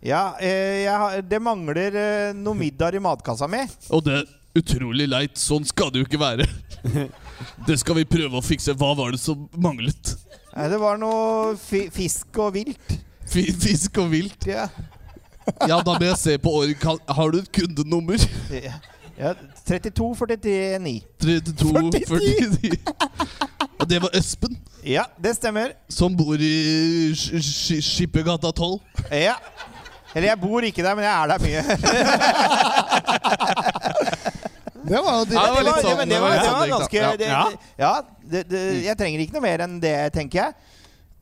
Speaker 3: Ja, eh, jeg har, det mangler eh, noe middag i matkassa mi. Eh,
Speaker 6: og det er utrolig leit. Sånn skal det jo ikke være. Det skal vi prøve å fikse. Hva var det som manglet?
Speaker 3: Eh, Det var noe fi fisk og vilt.
Speaker 6: Fi- Fisk og vilt?
Speaker 3: Ja.
Speaker 6: Ja, da må jeg se på org. Har du et kundenummer?
Speaker 3: Ja, 32 49.
Speaker 6: 32 49. Og det var Espen,
Speaker 3: Ja, det stemmer.
Speaker 6: som bor i Sk- Sk- Skippergata 12.
Speaker 3: Ja. Eller jeg bor ikke der, men jeg er der mye.
Speaker 4: Det var jo
Speaker 6: Ja, det
Speaker 4: direkte.
Speaker 6: var litt sånn.
Speaker 3: men det var,
Speaker 6: det var
Speaker 3: det var
Speaker 6: sånn det
Speaker 3: ganske
Speaker 6: gikk,
Speaker 3: det,
Speaker 2: Ja.
Speaker 3: det, Ja, det, det, jeg trenger ikke noe mer enn det, tenker jeg.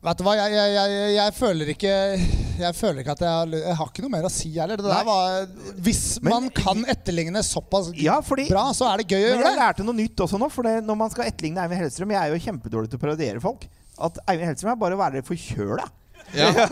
Speaker 4: Vet du hva, jeg, jeg, jeg, jeg- jeg føler ikke jeg føler ikke at jeg har, lu- jeg har ikke noe mer å si heller. Det der
Speaker 3: Nei.
Speaker 4: var, hvis
Speaker 3: Men-
Speaker 4: man kan etterligne såpass
Speaker 3: Ja, fordi
Speaker 4: bra, så er det gøy å
Speaker 3: Men
Speaker 4: gjøre
Speaker 3: jeg
Speaker 4: det.
Speaker 3: lærte noe nytt også nå. For det, når man skal etterligne Eivind Hellstrøm Jeg er jo kjempedårlig til å parodiere folk. At Eivind Hellstrøm er bare å være forkjøla.
Speaker 6: Ja, det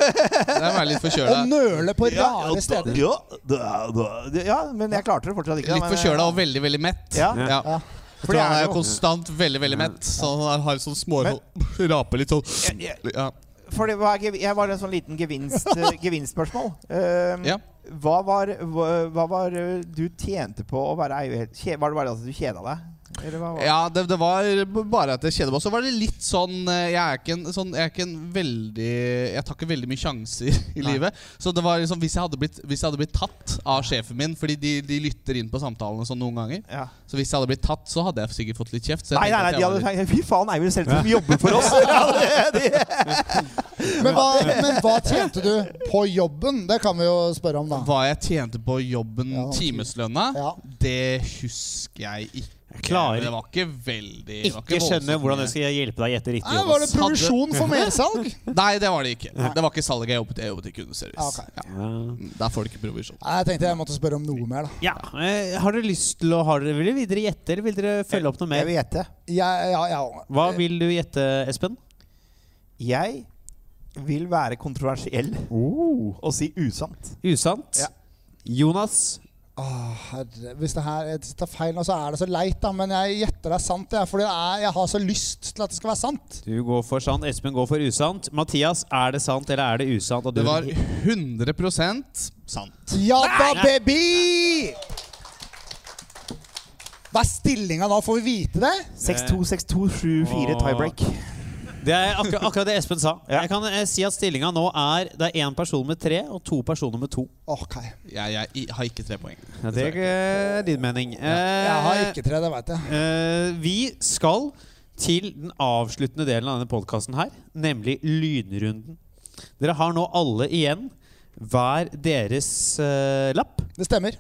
Speaker 6: er litt
Speaker 4: Å
Speaker 6: forkjøla.
Speaker 4: nøle på rare
Speaker 3: ja, da-
Speaker 4: steder.
Speaker 3: ja, da- da- ja, men jeg klarte det fortsatt ikke. da,
Speaker 6: Litt
Speaker 3: men- eh,
Speaker 6: forkjøla og veldig, veldig mett.
Speaker 3: Ja.
Speaker 6: Ja.
Speaker 4: Ja.
Speaker 6: Jeg
Speaker 3: For
Speaker 6: tror
Speaker 3: det
Speaker 6: han
Speaker 3: er
Speaker 6: er
Speaker 3: jo- Mm.
Speaker 6: konstant veldig, veldig mett. Så han har sånn små
Speaker 3: Men-
Speaker 6: Raper litt sånn
Speaker 3: Jeg-
Speaker 6: ja.
Speaker 3: For det var, jeg var en sånn liten gevinst, eh, gevinstspørsmål. Um,
Speaker 6: Ja.
Speaker 3: hva, var, hva, hva var eh, du tjente på å være Eivind Hellstrøm? Var det bare at du kjeda deg? Eller hva var det?
Speaker 6: Ja, det, det var b- bare at jeg kjeder meg. Og Så var det litt sånn eh, Jeg er ikke en, sånn, jeg er ikke en veldig Jeg tar ikke veldig mye sjanser i livet. Så det var liksom, hvis jeg hadde blitt, hvis jeg hadde blitt tatt av sjefen min Fordi de, de lytter inn på samtalene sånn noen ganger.
Speaker 3: Ja.
Speaker 6: Så hvis jeg hadde blitt tatt, så hadde jeg sikkert fått litt kjeft. Så jeg
Speaker 3: Nei, nei,
Speaker 6: tenkte
Speaker 3: nei,
Speaker 6: at
Speaker 3: de
Speaker 6: jeg var
Speaker 3: hadde
Speaker 6: litt-
Speaker 3: tenkt Fy faen, Eivind Seltzer som jobber for oss! Ja, det, det.
Speaker 4: Men hva, men hva tjente du på jobben? Det kan vi jo spørre om, da.
Speaker 6: Hva jeg tjente på jobben,
Speaker 4: Ja, ok.
Speaker 6: timeslønna,
Speaker 4: Ja.
Speaker 6: det husker jeg ikke.
Speaker 2: Klarer
Speaker 6: Det var ikke veldig det var
Speaker 2: Ikke skjønne
Speaker 6: voldsomt
Speaker 2: hvordan
Speaker 6: mye.
Speaker 2: jeg skal hjelpe deg å gjette riktig.
Speaker 4: Nei, var
Speaker 2: Jonas.
Speaker 4: det provisjon for mersalg?
Speaker 6: Nei, det var det ikke. Det var ikke salget jeg jobbet Jeg jobbet i kundeservice.
Speaker 4: Ah, Ok.
Speaker 6: Ja. Der får du ikke provisjon.
Speaker 4: Nei, Jeg tenkte jeg måtte spørre om noe mer, da.
Speaker 2: Ja, eh, Har dere lyst til å har dere, Vil dere videre gjette, eller vil dere følge opp noe
Speaker 3: Jeg
Speaker 2: mer?
Speaker 3: vil gjette.
Speaker 4: Jeg, ja, ja.
Speaker 2: Hva vil du gjette, Espen?
Speaker 3: Jeg vil være kontroversiell og si usant.
Speaker 2: Usant?
Speaker 3: Ja.
Speaker 2: Jonas?
Speaker 4: Åh, herre, hvis det her jeg tar feil nå, så er det så leit, da. Men jeg gjetter det er sant. Jeg, fordi det er, jeg har så lyst til at det skal være sant.
Speaker 2: Du går for sant, Espen går for usant. Mathias, er det sant eller er det usant? at du-
Speaker 6: Det var 100 sant.
Speaker 4: Ja da, baby! Hva er stillinga da? Får vi vite det?
Speaker 3: 6-2-6-2-7-4 tiebreak.
Speaker 2: Det er akkur akkurat det Espen sa.
Speaker 3: Ja.
Speaker 2: Jeg kan eh, si at stillinga nå er Det er én person med tre og to personer med to.
Speaker 4: Ok.
Speaker 6: Jeg, jeg i- har ikke tre poeng.
Speaker 2: Ja, det er eh, din mening.
Speaker 4: Jeg har ikke tre, det veit jeg.
Speaker 2: Eh, vi skal til den avsluttende delen av denne podkasten her, nemlig lynrunden. Dere har nå alle igjen hver deres eh, lapp.
Speaker 4: Det stemmer.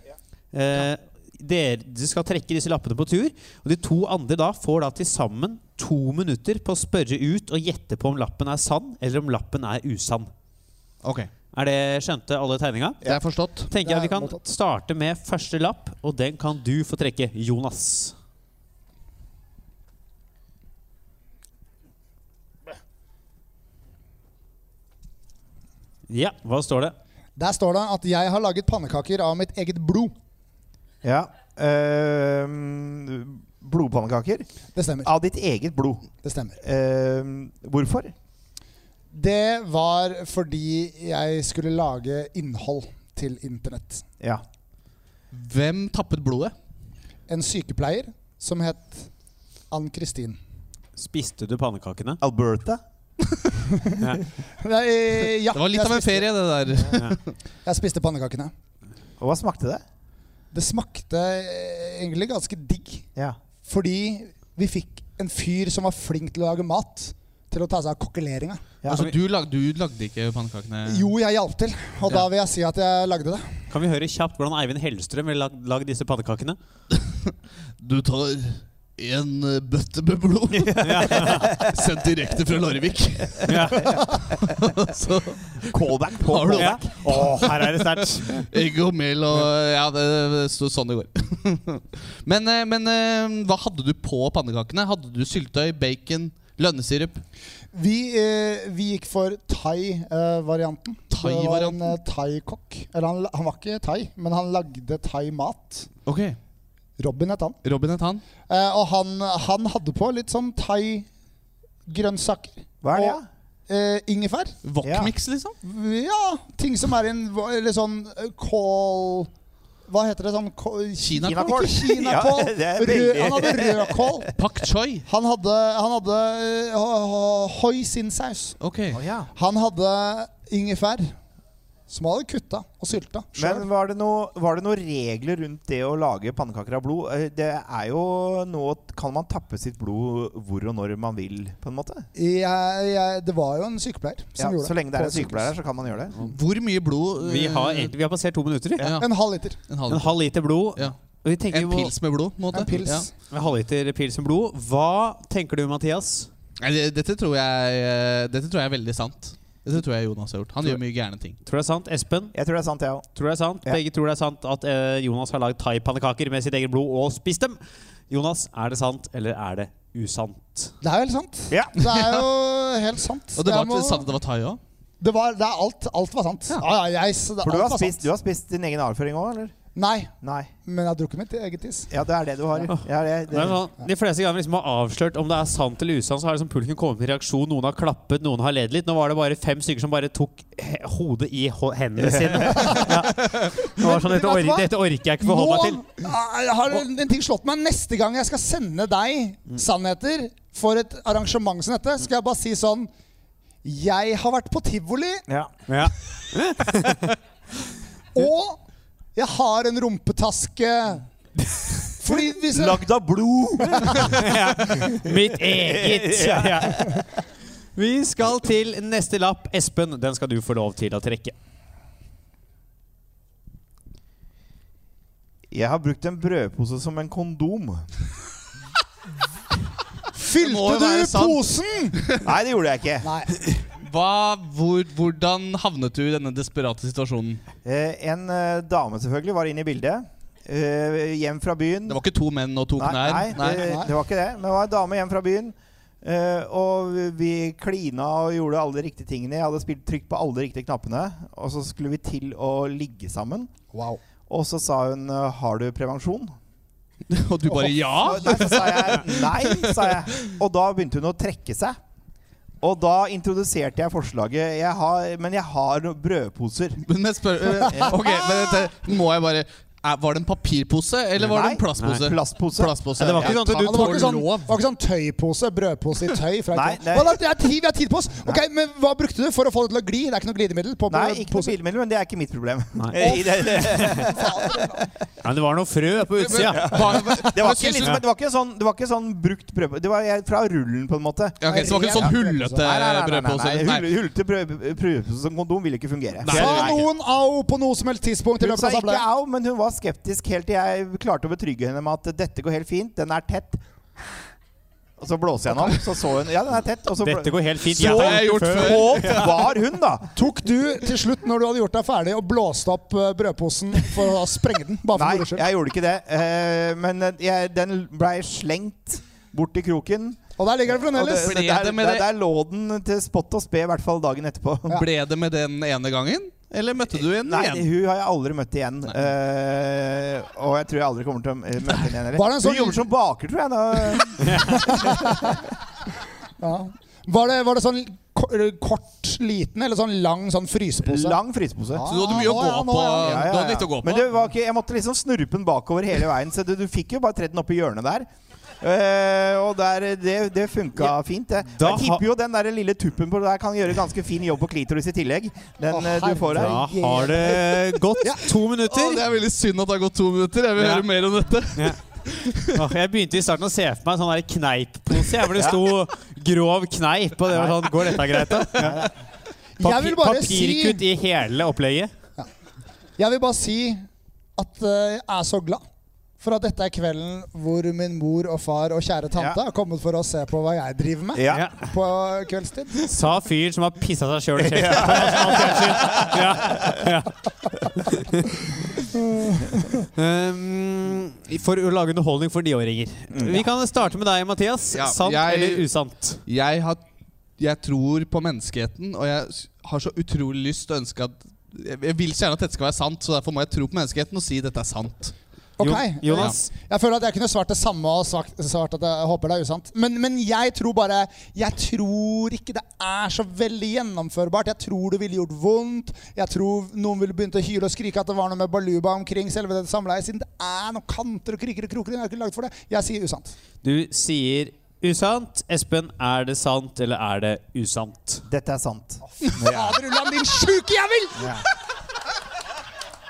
Speaker 2: Eh, dere, dere skal trekke disse lappene på tur, og de to andre da får da til sammen to minutter på å spørre ut og gjette på om lappen er sann eller om lappen er usann.
Speaker 6: Ok,
Speaker 2: Er det skjønte alle tegninga?
Speaker 6: Det er forstått.
Speaker 2: Tenker jeg
Speaker 4: Det
Speaker 2: Vi
Speaker 4: er
Speaker 2: kan
Speaker 4: mottatt.
Speaker 2: starte med første lapp, og den kan du få trekke, Jonas. Ja, hva står det?
Speaker 4: Der står det at jeg har laget pannekaker av mitt eget blod.
Speaker 3: Ja. Ehm, blodpannekaker
Speaker 4: Det stemmer.
Speaker 3: av ditt eget blod.
Speaker 4: Det stemmer.
Speaker 3: Ehm, Ah. hvorfor?
Speaker 4: Det var fordi jeg skulle lage innhold til internett.
Speaker 3: Ja.
Speaker 6: Hvem tappet blodet?
Speaker 4: En sykepleier som het Ann-Kristin.
Speaker 2: Spiste du pannekakene?
Speaker 3: Alberta?
Speaker 4: Nei, ja,
Speaker 6: Det var litt
Speaker 4: jeg
Speaker 6: av en
Speaker 4: spiste-
Speaker 6: ferie, det der.
Speaker 4: Jeg spiste pannekakene.
Speaker 3: Og hva smakte det?
Speaker 4: Det smakte eh, egentlig ganske digg.
Speaker 3: Ja.
Speaker 4: Fordi vi fikk en fyr som var flink til å lage mat, til å ta seg av kokkeleringa.
Speaker 3: ja.
Speaker 6: Altså, du, lag, du lagde ikke pannekakene?
Speaker 4: Jo, jeg hjalp til, og da
Speaker 6: Ja.
Speaker 4: vil jeg si at jeg lagde det.
Speaker 2: Kan vi høre kjapt hvordan Eivind Hellstrøm ville lag- lagd disse pannekakene?
Speaker 6: Du tar en eh, bøtte med blod sendt direkte fra Larvik. Så
Speaker 3: Callback på
Speaker 6: Har du-
Speaker 3: callback.
Speaker 2: Å, her er det sterkt!
Speaker 6: egg og mel og Ja, det, det sto sånn det går. Men, eh, men eh, hva hadde du på pannekakene? Hadde du syltetøy, bacon, lønnesirup?
Speaker 4: Vi, eh, vi gikk for thai-varianten. det var en
Speaker 6: Thai-varianten?
Speaker 4: eh, thai-kokk. Eller han, han var ikke thai, men han lagde thai-mat.
Speaker 6: Ok,
Speaker 4: Robin het han.
Speaker 6: Robin het han.
Speaker 4: Eh, og han, han hadde på litt sånn thai-grønnsaker.
Speaker 3: Hva er det?
Speaker 4: Og- Eh, ingefær.
Speaker 6: Wokmix, liksom?
Speaker 4: Ja, ting som er i en Eller sånn eh, kål Hva heter det? sånn kål, Ikke
Speaker 6: Kinakål.
Speaker 4: Kinakål!
Speaker 3: Ja, det er
Speaker 4: rød,
Speaker 3: veldig-
Speaker 4: han hadde rødkål.
Speaker 6: Pak choi.
Speaker 4: Han hadde, han hadde eh, ho- ho- hoi sin-saus.
Speaker 6: Ok.
Speaker 3: Å, ja.
Speaker 4: Han hadde ingefær. Som han hadde kutta og sylta. selv.
Speaker 3: Men var det, noe, var det noen regler rundt det å lage pannekaker av blod? Eh, Det er jo nå Kan man tappe sitt blod hvor og når man vil, på en måte?
Speaker 4: Jeg, jeg, eh, det var jo en sykepleier
Speaker 3: Ja,
Speaker 4: som gjorde det.
Speaker 3: så lenge det er
Speaker 4: på
Speaker 3: en sykepleier her, så kan man gjøre det.
Speaker 6: Hvor mye blod? eh,
Speaker 2: Vi har, egentlig, vi har passert to minutter. vi.
Speaker 6: ja.
Speaker 4: En halv liter.
Speaker 6: En halv.
Speaker 2: En halv liter blod.
Speaker 6: Ja.
Speaker 2: Og vi tenker
Speaker 6: En
Speaker 2: jo-
Speaker 6: pils med blod, på en måte.
Speaker 4: En pils.
Speaker 6: Ja.
Speaker 2: En halv liter pils med blod. Hva tenker du, Mathias?
Speaker 6: Nei, det- Dette, tror jeg, eh, dette tror jeg er veldig sant. Dette tror jeg Jonas har gjort. Han gjør mye gærne ting.
Speaker 2: Tror du det er sant? Espen?
Speaker 3: Jeg tror det er sant, jeg òg.
Speaker 2: Tror det er sant?
Speaker 3: Ja.
Speaker 2: Begge tror det er sant at eh, Jonas har lagd thaipannekaker med sitt eget blod og spist dem. Jonas, er det sant, eller er det usant?
Speaker 4: Det er jo helt sant.
Speaker 3: Ja.
Speaker 4: Det er jo helt sant.
Speaker 6: Og det var
Speaker 4: Jeg må-
Speaker 6: sant at det var thai òg.
Speaker 4: det var, det er alt, alt var sant. Ja, ja, jeg, så det,
Speaker 3: For du
Speaker 4: alt
Speaker 3: har,
Speaker 4: var sant.
Speaker 3: spist, du har spist din egen avføring òg, eller?
Speaker 4: Nei,
Speaker 3: Nei.
Speaker 4: men jeg har drukket mitt eget tiss.
Speaker 3: Ja, det er det du har. Ja, det,
Speaker 2: Det er
Speaker 3: det.
Speaker 2: sånn, de fleste ganger vi liksom har avslørt om det er sant eller usant, så har liksom publikum kommet med en reaksjon. Noen har klappet, noen har ledd litt. Nå var det bare fem stykker som bare tok he- hodet i hå- hendene sine. Ja. Det var sånn, dette,
Speaker 4: Men vet du
Speaker 2: orker,
Speaker 4: hva?
Speaker 2: dette orker jeg ikke
Speaker 4: Nå
Speaker 2: forholde meg til.
Speaker 4: ah, har en en ting slått meg. Neste gang jeg skal sende
Speaker 3: Mm.
Speaker 4: deg sannheter for et arrangement som dette, skal jeg bare si sånn Jeg har vært på tivoli,
Speaker 3: Ja.
Speaker 2: Ja.
Speaker 4: og jeg har en rumpetaske. Fordi hvis jeg,
Speaker 3: Lagd av blod!
Speaker 2: Mitt eget! Ja. Vi skal til neste lapp. Espen, den skal du få lov til å trekke.
Speaker 3: Jeg har brukt en brødpose som en kondom.
Speaker 6: Det må jo
Speaker 4: Fylte du
Speaker 6: være sant.
Speaker 4: posen?
Speaker 3: Nei, det gjorde jeg ikke.
Speaker 4: Nei.
Speaker 6: Hva, hvor, hvordan havnet du i denne desperate situasjonen?
Speaker 3: Eh, en eh, dame selvfølgelig var inne i bildet. Eh, hjem fra byen.
Speaker 6: Det var ikke to menn og to knær?
Speaker 3: nei, nei, det,
Speaker 4: Nei.
Speaker 3: det var ikke det. Men det var en dame hjem fra byen. eh, og vi klina og gjorde alle de riktige tingene. Jeg hadde spilt trykt på alle de riktige knappene. Og så skulle vi til å ligge sammen.
Speaker 4: Wow.
Speaker 3: Og så sa hun eh, 'Har du prevensjon?'
Speaker 6: Og du bare ja?
Speaker 3: Og derfor sa jeg nei, sa jeg. Og da begynte hun å trekke seg. Og da introduserte jeg forslaget. Jeg har, men jeg har noen brødposer.
Speaker 6: Men jeg spør, eh, ok, men dette må jeg bare er, Var det en papirpose, eller var det en
Speaker 3: Nei.
Speaker 6: plastpose?
Speaker 3: Plastpose.
Speaker 6: Plastpose.
Speaker 2: Nei, det var ikke
Speaker 6: Ja,
Speaker 2: sånn at
Speaker 6: takk.
Speaker 2: du
Speaker 4: Ja, det, var ikke sånn,
Speaker 6: lov.
Speaker 4: det var ikke sånn tøypose, brødpose i tøy. Fra
Speaker 3: Nei,
Speaker 4: det,
Speaker 3: det-
Speaker 4: det er tid, vi har tid på oss! Ok, Men hva brukte du for å få det til å gli? Det er ikke noe glidemiddel? på
Speaker 3: Nei, ikke noe
Speaker 4: posen.
Speaker 3: bilmiddel, men det er ikke mitt problem.
Speaker 2: Nei.
Speaker 3: I det,
Speaker 2: Ja, men det var noe frø på
Speaker 3: sånn-
Speaker 2: utsida.
Speaker 6: Hva- hva-
Speaker 3: det, var
Speaker 6: syns
Speaker 3: ikke, liksom,
Speaker 6: du-
Speaker 3: det, var ikke sånn, det var ikke sånn brukt brødpose. Det var jeg- fra rullen, på en måte.
Speaker 6: Ja, ok, så det var ikke en sånn hullete
Speaker 3: Nei, nei, nei, nei,
Speaker 6: brødpose?
Speaker 3: nei,
Speaker 6: Nei.
Speaker 3: Hull- Hullete brød- brødpose som kondom ville ikke fungere.
Speaker 6: Nei.
Speaker 4: Sa
Speaker 6: Nei.
Speaker 4: noen au på noe som helst tidspunkt i
Speaker 3: Hun
Speaker 4: løpet
Speaker 3: sa
Speaker 4: av
Speaker 3: ikke
Speaker 4: samleien?
Speaker 3: au, men hun var skeptisk helt til jeg klarte å betrygge henne med at dette går helt fint, den er tett. Og så blåser jeg den opp, så så hun Ja, den er tett. Og så blå-
Speaker 2: Dette går helt fint.
Speaker 6: Så
Speaker 2: Jeg
Speaker 6: har jeg
Speaker 2: har
Speaker 6: gjort før.
Speaker 3: Så var hun, da!
Speaker 4: Tok du til slutt, når du hadde gjort deg ferdig, og blåste opp eh, brødposen for å sprenge den? Bare for
Speaker 3: Nei,
Speaker 4: moro skyld.
Speaker 3: jeg gjorde ikke det. eh, Men jeg, den blei slengt bort i kroken.
Speaker 4: Og der ligger den
Speaker 3: Og
Speaker 4: fremdeles.
Speaker 3: det- det-
Speaker 6: Ble
Speaker 3: der,
Speaker 6: det med
Speaker 3: der,
Speaker 6: det-
Speaker 3: der lå den til spott og spe, i hvert fall dagen etterpå.
Speaker 6: Ble det med den ene gangen, eller møtte du henne
Speaker 3: Nei,
Speaker 6: igjen?
Speaker 3: hun har jeg aldri møtt igjen. eh, og jeg tror jeg aldri kommer til å eh, møte henne igjen. heller.
Speaker 4: Var det en sånn-
Speaker 3: Hun jobber som baker, tror jeg. Da.
Speaker 4: Ja. Var, det, var det sånn ko- kort, liten, eller sånn lang sånn frysepose?
Speaker 3: Lang frysepose.
Speaker 6: Så du hadde mye å
Speaker 3: Ah,
Speaker 4: Nå, ja,
Speaker 6: gå
Speaker 4: nå,
Speaker 6: på.
Speaker 4: ja.
Speaker 3: Ja, ja, ja.
Speaker 6: Du hadde litt å gå på.
Speaker 3: Men det var ikke, jeg måtte liksom snurpe den bakover hele veien, så du, du fikk jo bare tredd den opp i hjørnet der. Eh, og der, det, det funka fint, det.
Speaker 2: Da
Speaker 3: jeg
Speaker 2: ha-
Speaker 3: tipper jo den der lille tuppen på det der kan gjøre ganske fin jobb på klitoris i tillegg. Den
Speaker 4: Å,
Speaker 3: eh, du får
Speaker 2: Da
Speaker 3: her.
Speaker 2: har det gått to
Speaker 6: Å, det
Speaker 2: minutter.
Speaker 6: er veldig synd at det har gått to minutter. Jeg vil
Speaker 2: Ja.
Speaker 6: høre mer om dette.
Speaker 2: Åh, jeg begynte i starten å se for meg en sånn der kneippose, jeg, hvor det sto 'grov kneip'. Og det var sånn, går dette greit, da?
Speaker 4: Jeg vil bare si
Speaker 2: papirkutt i hele opplegget.
Speaker 4: Jeg vil bare si at eh, jeg er så glad for at dette er kvelden hvor min mor og far og kjære tante
Speaker 3: Ja.
Speaker 4: har kommet for å se på hva jeg driver med
Speaker 3: Ja.
Speaker 4: på kveldstid.
Speaker 2: Sa fyren som har pissa seg sjøl i kjeften. på nasjonal fjernsyn. Ja. Ja. Um, for å lage underholdning for niåringer. Vi kan starte med deg, Mathias.
Speaker 6: Ja,
Speaker 2: Sant
Speaker 6: jeg-
Speaker 2: eller usant?
Speaker 6: Jeg, har, jeg tror på menneskeheten, og jeg s- har så utrolig lyst til å ønske at jeg jeg vil så gjerne at dette skal være sant, så derfor må jeg tro på menneskeheten og si dette er sant.
Speaker 4: Ok,
Speaker 2: Jo- Jonas?
Speaker 4: Jeg føler at jeg kunne svart det samme og svart, svart at jeg håper det er usant. Men, men jeg tror bare Jeg tror ikke det er så veldig gjennomførbart. Jeg tror det ville gjort vondt. Jeg tror noen ville begynt å hyle og skrike at det var noe med baluba omkring selve det samleiet. Siden det er noen kanter og kriker og kroker. Jeg har ikke lagd for det. Jeg sier usant.
Speaker 2: Du sier usant. Espen, er det sant eller er det usant?
Speaker 3: Dette er sant.
Speaker 4: Fader Ulland, din sjuke jævel!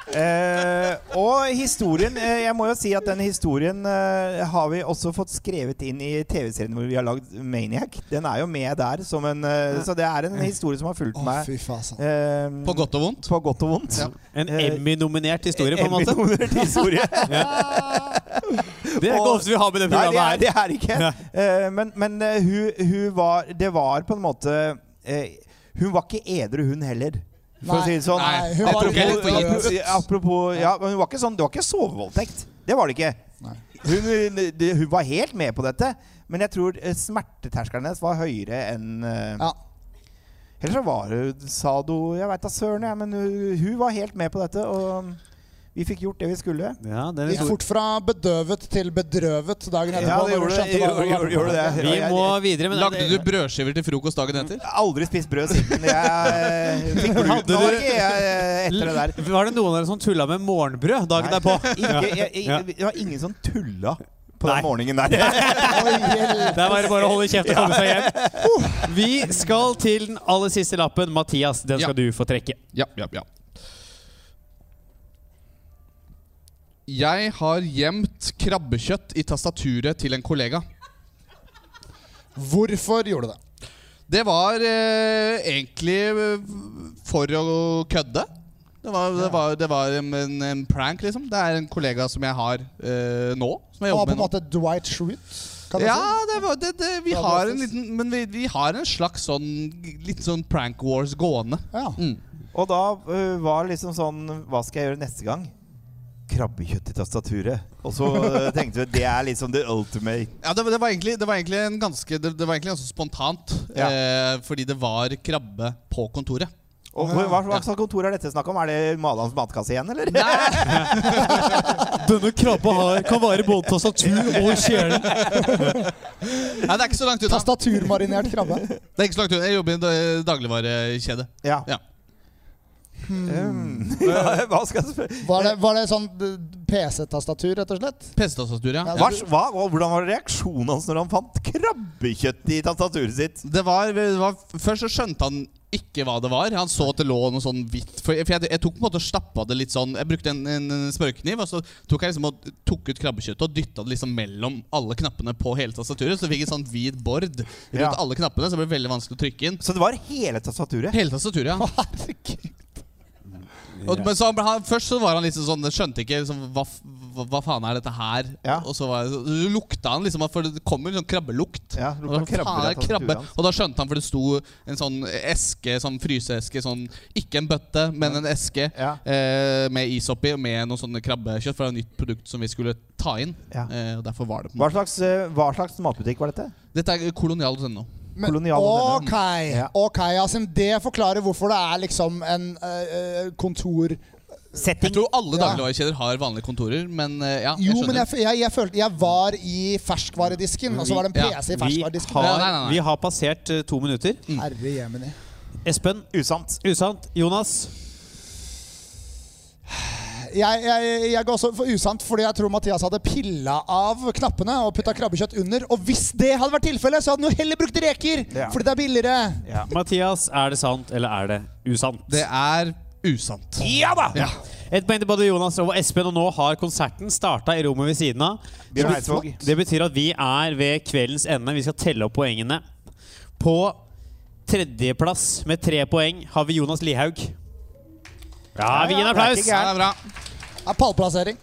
Speaker 3: Eh, og historien eh, Jeg må jo si at den historien eh, har vi også fått skrevet inn i TV-serien hvor vi har lagd Maniac. Den er jo med der som en eh, Så det er en historie som har fulgt
Speaker 4: Å,
Speaker 3: meg.
Speaker 4: fy faen.
Speaker 3: eh,
Speaker 6: På godt og vondt.
Speaker 3: på godt og vondt.
Speaker 2: En
Speaker 3: Eh,
Speaker 2: Emmy-nominert historie, på en måte?
Speaker 3: Emmy-nominert historie.
Speaker 2: Det er ikke
Speaker 3: og-
Speaker 2: ofte vi har med det
Speaker 3: Nei, det
Speaker 2: programmet
Speaker 3: er
Speaker 2: her.
Speaker 3: det er ikke. Eh, men men eh, hun, hun var Det var på en måte eh, Hun var ikke edru, hun heller. For å
Speaker 4: Nei,
Speaker 3: si det sånn.
Speaker 4: nei, hun
Speaker 6: var
Speaker 3: apropos,
Speaker 6: litt for
Speaker 3: apropos,
Speaker 6: gitt.
Speaker 3: apropos ja, men hun var ikke sånn, Det var ikke sovevoldtekt. Det var det ikke.
Speaker 4: Nei.
Speaker 3: Hun, det- hun var helt med på dette, men jeg tror eh, smerteterskelen hennes var høyere enn eh,
Speaker 4: Ja.
Speaker 3: Ellers så var hun sado Jeg veit da søren, jeg, men hun, hun var helt med på dette. Og Vi fikk gjort det vi skulle.
Speaker 2: Ja, den
Speaker 4: Gikk
Speaker 2: historien-
Speaker 4: fort fra bedrøvet til bedrøvet dagen etterpå.
Speaker 3: Ja,
Speaker 4: når
Speaker 3: det
Speaker 4: du
Speaker 3: gjorde det.
Speaker 4: skjønte hva-
Speaker 3: Gjorde- gjorde- gjorde det.
Speaker 2: Vi
Speaker 3: Og jeg-
Speaker 2: må videre. Men
Speaker 6: Lagde du brødskiver til frokost dagen etter?
Speaker 3: Jeg har aldri spist brød siden jeg eh, fikk bruk
Speaker 2: Hadde
Speaker 3: Nå
Speaker 2: du-
Speaker 3: var ikke jeg eh, etter det der.
Speaker 2: Var det noen av dere som tulla med morgenbrød dagen
Speaker 3: Nei.
Speaker 2: derpå?
Speaker 3: Ikke, jeg,
Speaker 2: Ja.
Speaker 3: jeg, det var ingen som tulla på
Speaker 2: Nei.
Speaker 3: den morgenen der.
Speaker 2: Der var det bare å holde kjeft og komme seg hjem. Vi skal til den aller siste lappen. Mathias, den skal
Speaker 6: Ja.
Speaker 2: du få trekke.
Speaker 6: Ja, ja, ja. Jeg har gjemt krabbekjøtt i tastaturet til en kollega.
Speaker 4: Hvorfor gjorde du det?
Speaker 6: Det var eh, egentlig eh, for å kødde. Det var, det var, det var en, en- en prank, liksom. Det er en kollega som jeg har eh, nå. Som
Speaker 4: Det var
Speaker 6: jeg jobber
Speaker 4: på
Speaker 6: med
Speaker 4: en
Speaker 6: nå.
Speaker 4: måte Dwight Schrute. Kan jeg
Speaker 6: Ja,
Speaker 4: si?
Speaker 6: det var, det, det, vi
Speaker 4: Ja, det
Speaker 6: har en
Speaker 4: synes-
Speaker 6: liten Men vi, vi har en slags sånn Litt sånn prank wars gående.
Speaker 4: Ja.
Speaker 3: Og da eh, var det liksom sånn Hva skal jeg gjøre neste gang? Krabbekjøtt i tastaturet. Og så eh, tenkte vi det er liksom the ultimate.
Speaker 6: Ja, det, var- det, var egentlig, det var egentlig en ganske Det, det var egentlig ganske spontant.
Speaker 3: Ja.
Speaker 6: Eh, fordi det var krabbe på kontoret.
Speaker 3: Og hvor- hva, hva slags kontor er dette snakk om? Er det Malans matkasse igjen, eller?
Speaker 2: Denne krabba har, kan være både tastatur og kjelen.
Speaker 6: Nei, det er ikke så langt unna.
Speaker 4: Tastaturmarinert krabbe.
Speaker 6: Det er ikke så langt unna. Jeg jobber i en da- dagligvarekjede.
Speaker 3: Ja.
Speaker 6: Ja.
Speaker 3: Um, hva skal jeg spørre?
Speaker 4: Var det, var det sånn eh, PC-tastatur, rett og slett?
Speaker 6: PC-tastatur, ja.
Speaker 3: Hva, hva, hvordan var reaksjonen hans når han fant krabbekjøtt i tastaturet sitt?
Speaker 6: Det var, det var, først så skjønte han ikke hva det var. Han så at det lå noe sånn hvitt For, for jeg, jeg tok på en måte og stappa det litt sånn Jeg brukte en, en smørkniv, og så tok jeg liksom og tok ut krabbekjøttet og dytta det liksom mellom alle knappene på hele tastaturet. Så jeg fikk et sånn hvit bord rundt
Speaker 3: Ja.
Speaker 6: alle knappene, så det ble veldig vanskelig å trykke inn.
Speaker 3: Så det var hele tastaturet?
Speaker 6: Hele tastaturet, ja. Og, men så, han- han, først så var han liksom sånn skjønte ikke liksom, hva, f- hva, hva faen er dette her?
Speaker 3: Ja.
Speaker 6: Og så, var, så lukta han liksom For det kommer sånn krabbelukt.
Speaker 3: Ja, det lukta
Speaker 6: Og da, faen, er
Speaker 3: krabber
Speaker 6: det
Speaker 3: av tastaturet
Speaker 6: krabbe.
Speaker 3: hans.
Speaker 6: Og da skjønte han, for det sto en sånn eske, sånn fryseeske, sånn, ikke en bøtte, men en eske
Speaker 3: Ja.
Speaker 6: eh, med is oppi og med noe sånne krabbekjøtt. For det var et nytt produkt som vi skulle ta inn.
Speaker 3: Ja.
Speaker 6: Eh, og derfor var det på en
Speaker 3: Hva slags, eh, hva slags matbutikk var dette?
Speaker 6: måte. Dette er kolonial.no.
Speaker 4: Men,
Speaker 3: Kolonial
Speaker 4: ok, ok, Asim. Det forklarer hvorfor det er liksom en eh, eh, kontor
Speaker 6: Jeg tror alle
Speaker 4: Ja.
Speaker 6: dagligvarekjeder har vanlige kontorer, men eh, ja,
Speaker 4: Jo,
Speaker 6: jeg
Speaker 4: men
Speaker 6: skjønner.
Speaker 4: jeg, f- jeg, jeg følte jeg var i ferskvaredisken, og så var det en
Speaker 6: Ja.
Speaker 4: PC i
Speaker 2: Vi
Speaker 4: ferskvaredisken.
Speaker 6: Nei, nei,
Speaker 2: har,
Speaker 6: nei.
Speaker 2: vi har passert eh, to minutter.
Speaker 3: Mm.
Speaker 4: Herre jemini.
Speaker 2: Espen,
Speaker 3: Usant.
Speaker 2: usant. Jonas,
Speaker 4: Jeg, jeg, jeg går også for usant fordi jeg tror Mathias hadde pilla av knappene og putta krabbekjøtt under. Og hvis det hadde vært tilfellet, så hadde han jo heller brukt reker!
Speaker 3: Ja.
Speaker 4: Fordi det er billigere.
Speaker 2: Mathias, er det sant eller er det usant?
Speaker 6: Det er usant.
Speaker 3: Ja da!
Speaker 6: Ja.
Speaker 2: Et poeng til både Jonas og Espen, og nå har konserten starta i rommet ved siden av.
Speaker 3: Bjørn
Speaker 2: Det bet-
Speaker 3: Eidsvåg.
Speaker 2: Det betyr at vi er ved kveldens ende. Vi skal telle opp poengene. På tredjeplass med tre poeng har vi Jonas Lihaug. Ja, vi gir en
Speaker 3: det er ikke
Speaker 2: applaus.
Speaker 6: Ja, det er bra.
Speaker 4: Det er pallplassering.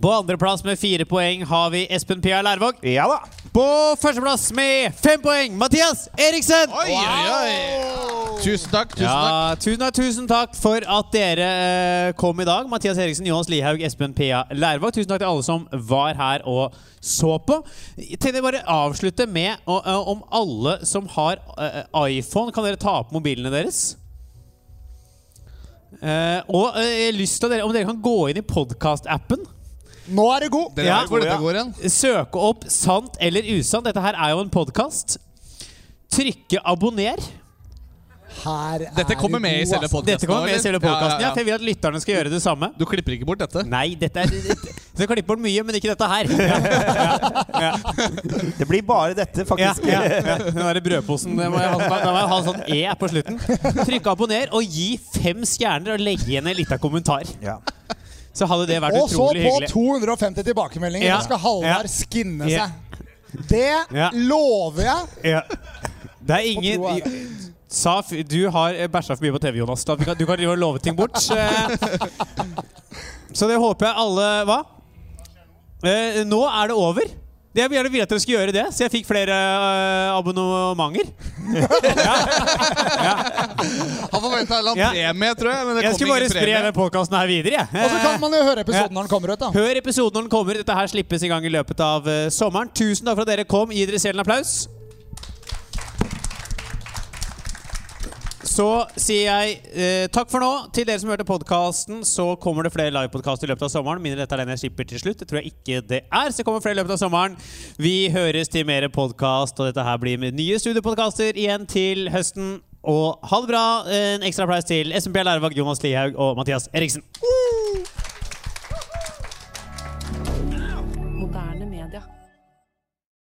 Speaker 2: På andreplass med fire poeng har vi Espen Pia Lærvåg.
Speaker 3: Ja da!
Speaker 2: På førsteplass med fem poeng Mathias Eriksen!
Speaker 6: Oi, oi, oi. Tusen takk. Tusen takk.
Speaker 2: Ja, tusen, takk, tusen takk for at dere eh, kom i dag. Mathias Eriksen, Jonas Lihaug, Espen P.A. Lærvåg. Tusen takk til alle som var her og så på. Jeg tenkte jeg bare avslutte med å, eh, om alle som har eh, iPhone, kan dere ta opp mobilene deres? Eh, og eh, jeg har lyst til at dere, om dere kan gå inn i podkast-appen.
Speaker 4: Nå er det god.
Speaker 6: Dere
Speaker 2: Ja.
Speaker 6: vet hvor dette går hen.
Speaker 2: Søke opp sant eller usant. Dette her er jo en podkast. Trykke abonner.
Speaker 4: Her er
Speaker 6: Dette kommer
Speaker 4: det
Speaker 6: med i
Speaker 4: god,
Speaker 6: selve
Speaker 4: altså.
Speaker 2: Dette kommer med i selve podkasten. Ja,
Speaker 6: Ja, ja,
Speaker 2: for jeg vil at lytterne skal gjøre det samme.
Speaker 6: Du klipper ikke bort dette?
Speaker 2: Nei, dette er Du klipper bort mye, men ikke dette her. Ja,
Speaker 3: Det blir bare dette,
Speaker 2: ja,
Speaker 3: faktisk.
Speaker 2: ja, ja. Den derre brødposen. Den må jeg ha, den må jeg ha sånn E på slutten. Trykk abonner og gi fem stjerner og legg igjen en liten kommentar.
Speaker 3: Ja.
Speaker 2: Så hadde det vært
Speaker 4: Og så
Speaker 2: utrolig
Speaker 4: på
Speaker 2: hyggelig.
Speaker 4: 250 tilbakemeldinger.
Speaker 2: Ja.
Speaker 4: Nå skal
Speaker 2: Ja.
Speaker 4: Halvard skinne
Speaker 2: Ja.
Speaker 4: seg. Det
Speaker 2: Ja.
Speaker 4: lover jeg.
Speaker 2: Ja. Det er
Speaker 4: Og to er
Speaker 2: ingen Sa f- du har eh, bæsja for mye på TV, Jonas. Da vi kan- Du kan drive og love ting bort. eh. Så det håper jeg alle Hva? Eh, Nå er det over. Jeg vil gjerne ville at dere skulle gjøre det, så jeg fikk flere eh, abonnementer.
Speaker 6: Han forventa en eller annen
Speaker 2: Ja.
Speaker 6: premie, tror jeg. Men det
Speaker 2: Jeg
Speaker 6: kom
Speaker 2: skulle bare
Speaker 6: ingen
Speaker 2: spre
Speaker 6: premie.
Speaker 2: den podkasten her videre, jeg.
Speaker 4: Og så kan man jo høre
Speaker 2: Ja.
Speaker 4: episoden når den kommer ut. da
Speaker 2: Hør episoden når den kommer. Dette her slippes i gang i løpet av eh, sommeren. Tusen takk for at dere kom. Gi dere selv en applaus. Så sier jeg eh, takk for nå. Til dere som hørte podkasten, så kommer det flere livepodkaster i løpet av sommeren. Mindre dette er den jeg slipper til slutt. Det tror jeg ikke det er. Så det kommer flere i løpet av sommeren. Vi høres til mer podkast, og dette her blir med nye studiepodkaster igjen til høsten. Og ha det bra. En ekstra applaus til Espen Bjerl Ervag, Jonas Lihaug og Mathias Eriksen.